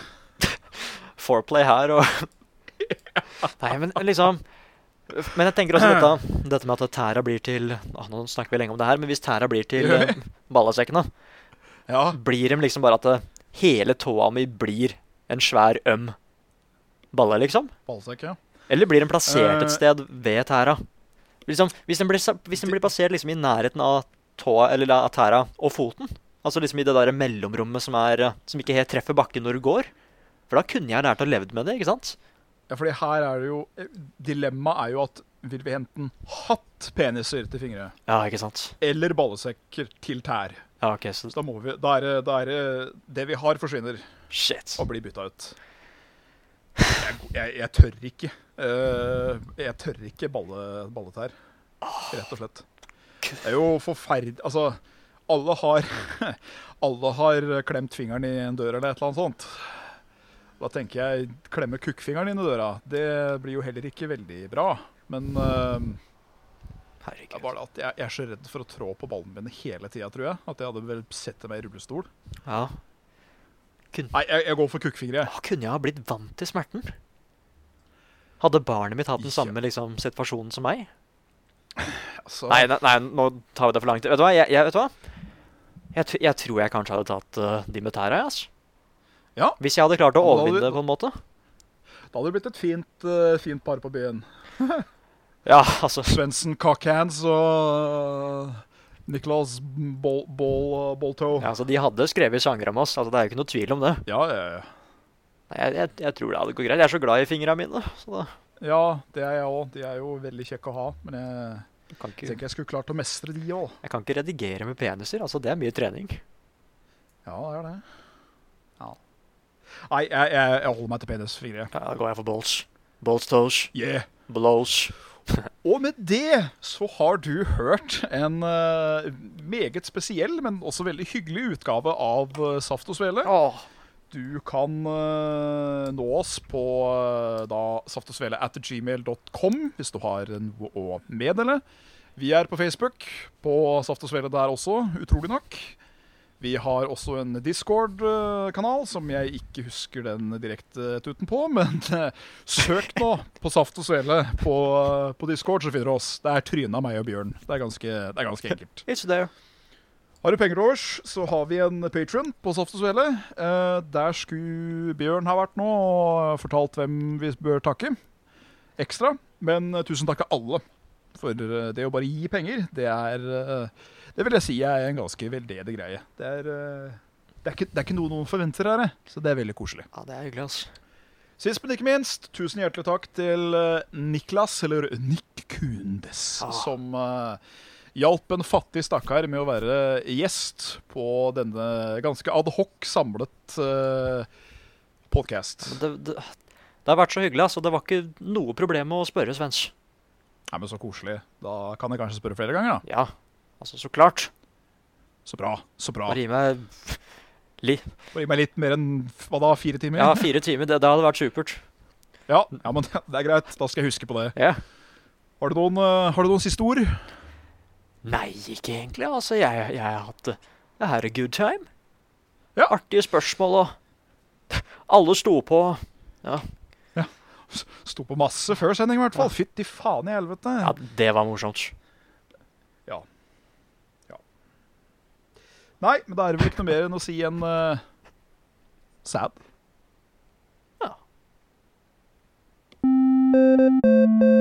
C: foreplay her og Nei, men liksom Men jeg tenker også dette, dette med at tæra blir til Åh, Nå snakker vi lenge om det her, men hvis tæra blir til eh, ballasekkene,
B: Ja.
C: blir dem liksom bare at eh, hele tåa mi blir en svær øm balle, liksom?
B: Ballsekk, ja.
C: Eller blir den plassert
B: Eh.
C: et sted ved tæra? Liksom, hvis den blir, sa- hvis den blir plassert liksom i nærheten av tåa, eller av tæra og foten, altså liksom i det der mellomrommet som, er, eh, som ikke helt treffer bakken når du går For da kunne jeg lært å leve med det, ikke sant?
B: ja fordi her er det jo eh, Dilemmaet er jo at vil vi enten hatt peniser til fingre
C: Ja, ikke sant?
B: eller ballesekker til tær?
C: Ja, ok, så
B: Så da, må vi, da, er, det- da er det det vi har, forsvinner
C: Shit.
B: og blir bytta ut. Jeg, jeg, jeg tør ikke. eh, jeg tør ikke balle, balletær, rett og slett. Det er jo forferdelig Altså, alle har Alle har klemt fingeren i en dør eller et eller annet sånt. Da tenker jeg klemme kukkfingeren inn i døra. Det blir jo heller ikke veldig bra. Men eh, det er
C: Herregud.
B: bare at jeg, jeg er så redd for å trå på ballene mine hele tida, tror jeg. At jeg hadde vel sett meg i rullestol.
C: Ja.
B: Nei, jeg, jeg går for kukkfingre, jeg.
C: Å, kunne jeg ha blitt vant til smerten? Hadde barnet mitt hatt den
B: Ikke.
C: samme liksom, situasjonen som meg?
B: Altså,
C: Nei, nei, nei, nå tar vi det for langt. Vet du hva? Jeg, jeg, vet du hva? Jeg, tr- jeg tror jeg kanskje hadde tatt eh, de med tæra. jeg, Altså.
B: Ja.
C: Hvis jeg hadde klart å
B: Ja, men da hadde
C: overvinne
B: vi-
C: det på en måte.
B: Da hadde det blitt et fint, eh, fint par på byen.
C: Ja, altså.
B: Svendsen Cockhands og eh, Nicholas Bol, Bol, eh, Bolto.
C: Ja, altså de hadde skrevet sanger om oss. Altså, det er jo ikke noe tvil om det.
B: Ja, ja, ja.
C: Nei, jeg, jeg, jeg tror det hadde gått greit. Jeg er så glad i fingra mine. Så da
B: ja, det er jeg òg. De er jo veldig kjekke å ha. Men jeg
C: kan ikke,
B: tenker jeg skulle klart å mestre de òg.
C: jeg kan ikke redigere med peniser. Altså, det er mye trening.
B: Ja, det er det. Ja. Nei, jeg, jeg, jeg holder meg til penisfingre.
C: Ja, da går jeg for balls. Balls toes.
B: Yeah!
C: Blows.
B: Og med det så har du hørt en eh, meget spesiell, men også veldig hyggelig utgave av eh, Saft og Svele.
C: Åh,
B: Du kan eh, nå oss på eh, da saftogsvele.gmail.com hvis du har noe å meddele. Vi er på Facebook, på Saft og Svele der også, utrolig nok. Vi har også en Discord-kanal, som jeg ikke husker den direkte tuten på. Men eh, søk nå på Saft og Svele på, eh, på Discord, så finner du oss. Det er trynet av meg og Bjørn. Det er ganske, det er ganske enkelt.
C: it's there.
B: Har du penger til overs, så har vi en patron på Saft og Svele. Eh, der skulle Bjørn ha vært nå og fortalt hvem vi bør takke ekstra. Men eh, tusen takk til alle. For eh, det å bare gi penger, det er eh, Det vil jeg si er en ganske veldedig greie. Det er, eh, det er, ikke, det er ikke noe noen forventer her, eh, så det er veldig koselig.
C: Ja, det er hyggelig, altså.
B: Sist, men ikke minst, tusen hjertelig takk til eh, Niklas, eller Nick Kundes,
C: Ah.
B: som eh, hjalp en fattig stakkar med å være gjest på denne ganske adhoc samlet uh, podkast.
C: Men Det, det, det har vært så hyggelig, altså. Det var ikke noe problem med å spørre, Svens.
B: Nei, men så koselig. Da kan jeg kanskje spørre flere ganger, da.
C: Ja, altså, så klart.
B: Så bra. Så bra.
C: Bare gi meg li.
B: Bare gi meg litt mer enn hva da, fire timer?
C: Ja, fire timer. Det, det hadde vært supert.
B: ja. ja, men det er greit. Da skal jeg huske på det.
C: Ja.
B: Har du noen, eh, har du noen siste ord?
C: Nei, ikke egentlig. Altså, jeg, jeg har hatt det. Det her er good time.
B: Ja.
C: Artige spørsmål og Alle sto på.
B: Sto på masse før sending, i hvert fall.
C: Ja.
B: Fytti faen i helvete.
C: Ja, det var morsomt.
B: Nei, men da er det vel ikke noe mer enn å si en eh, sad.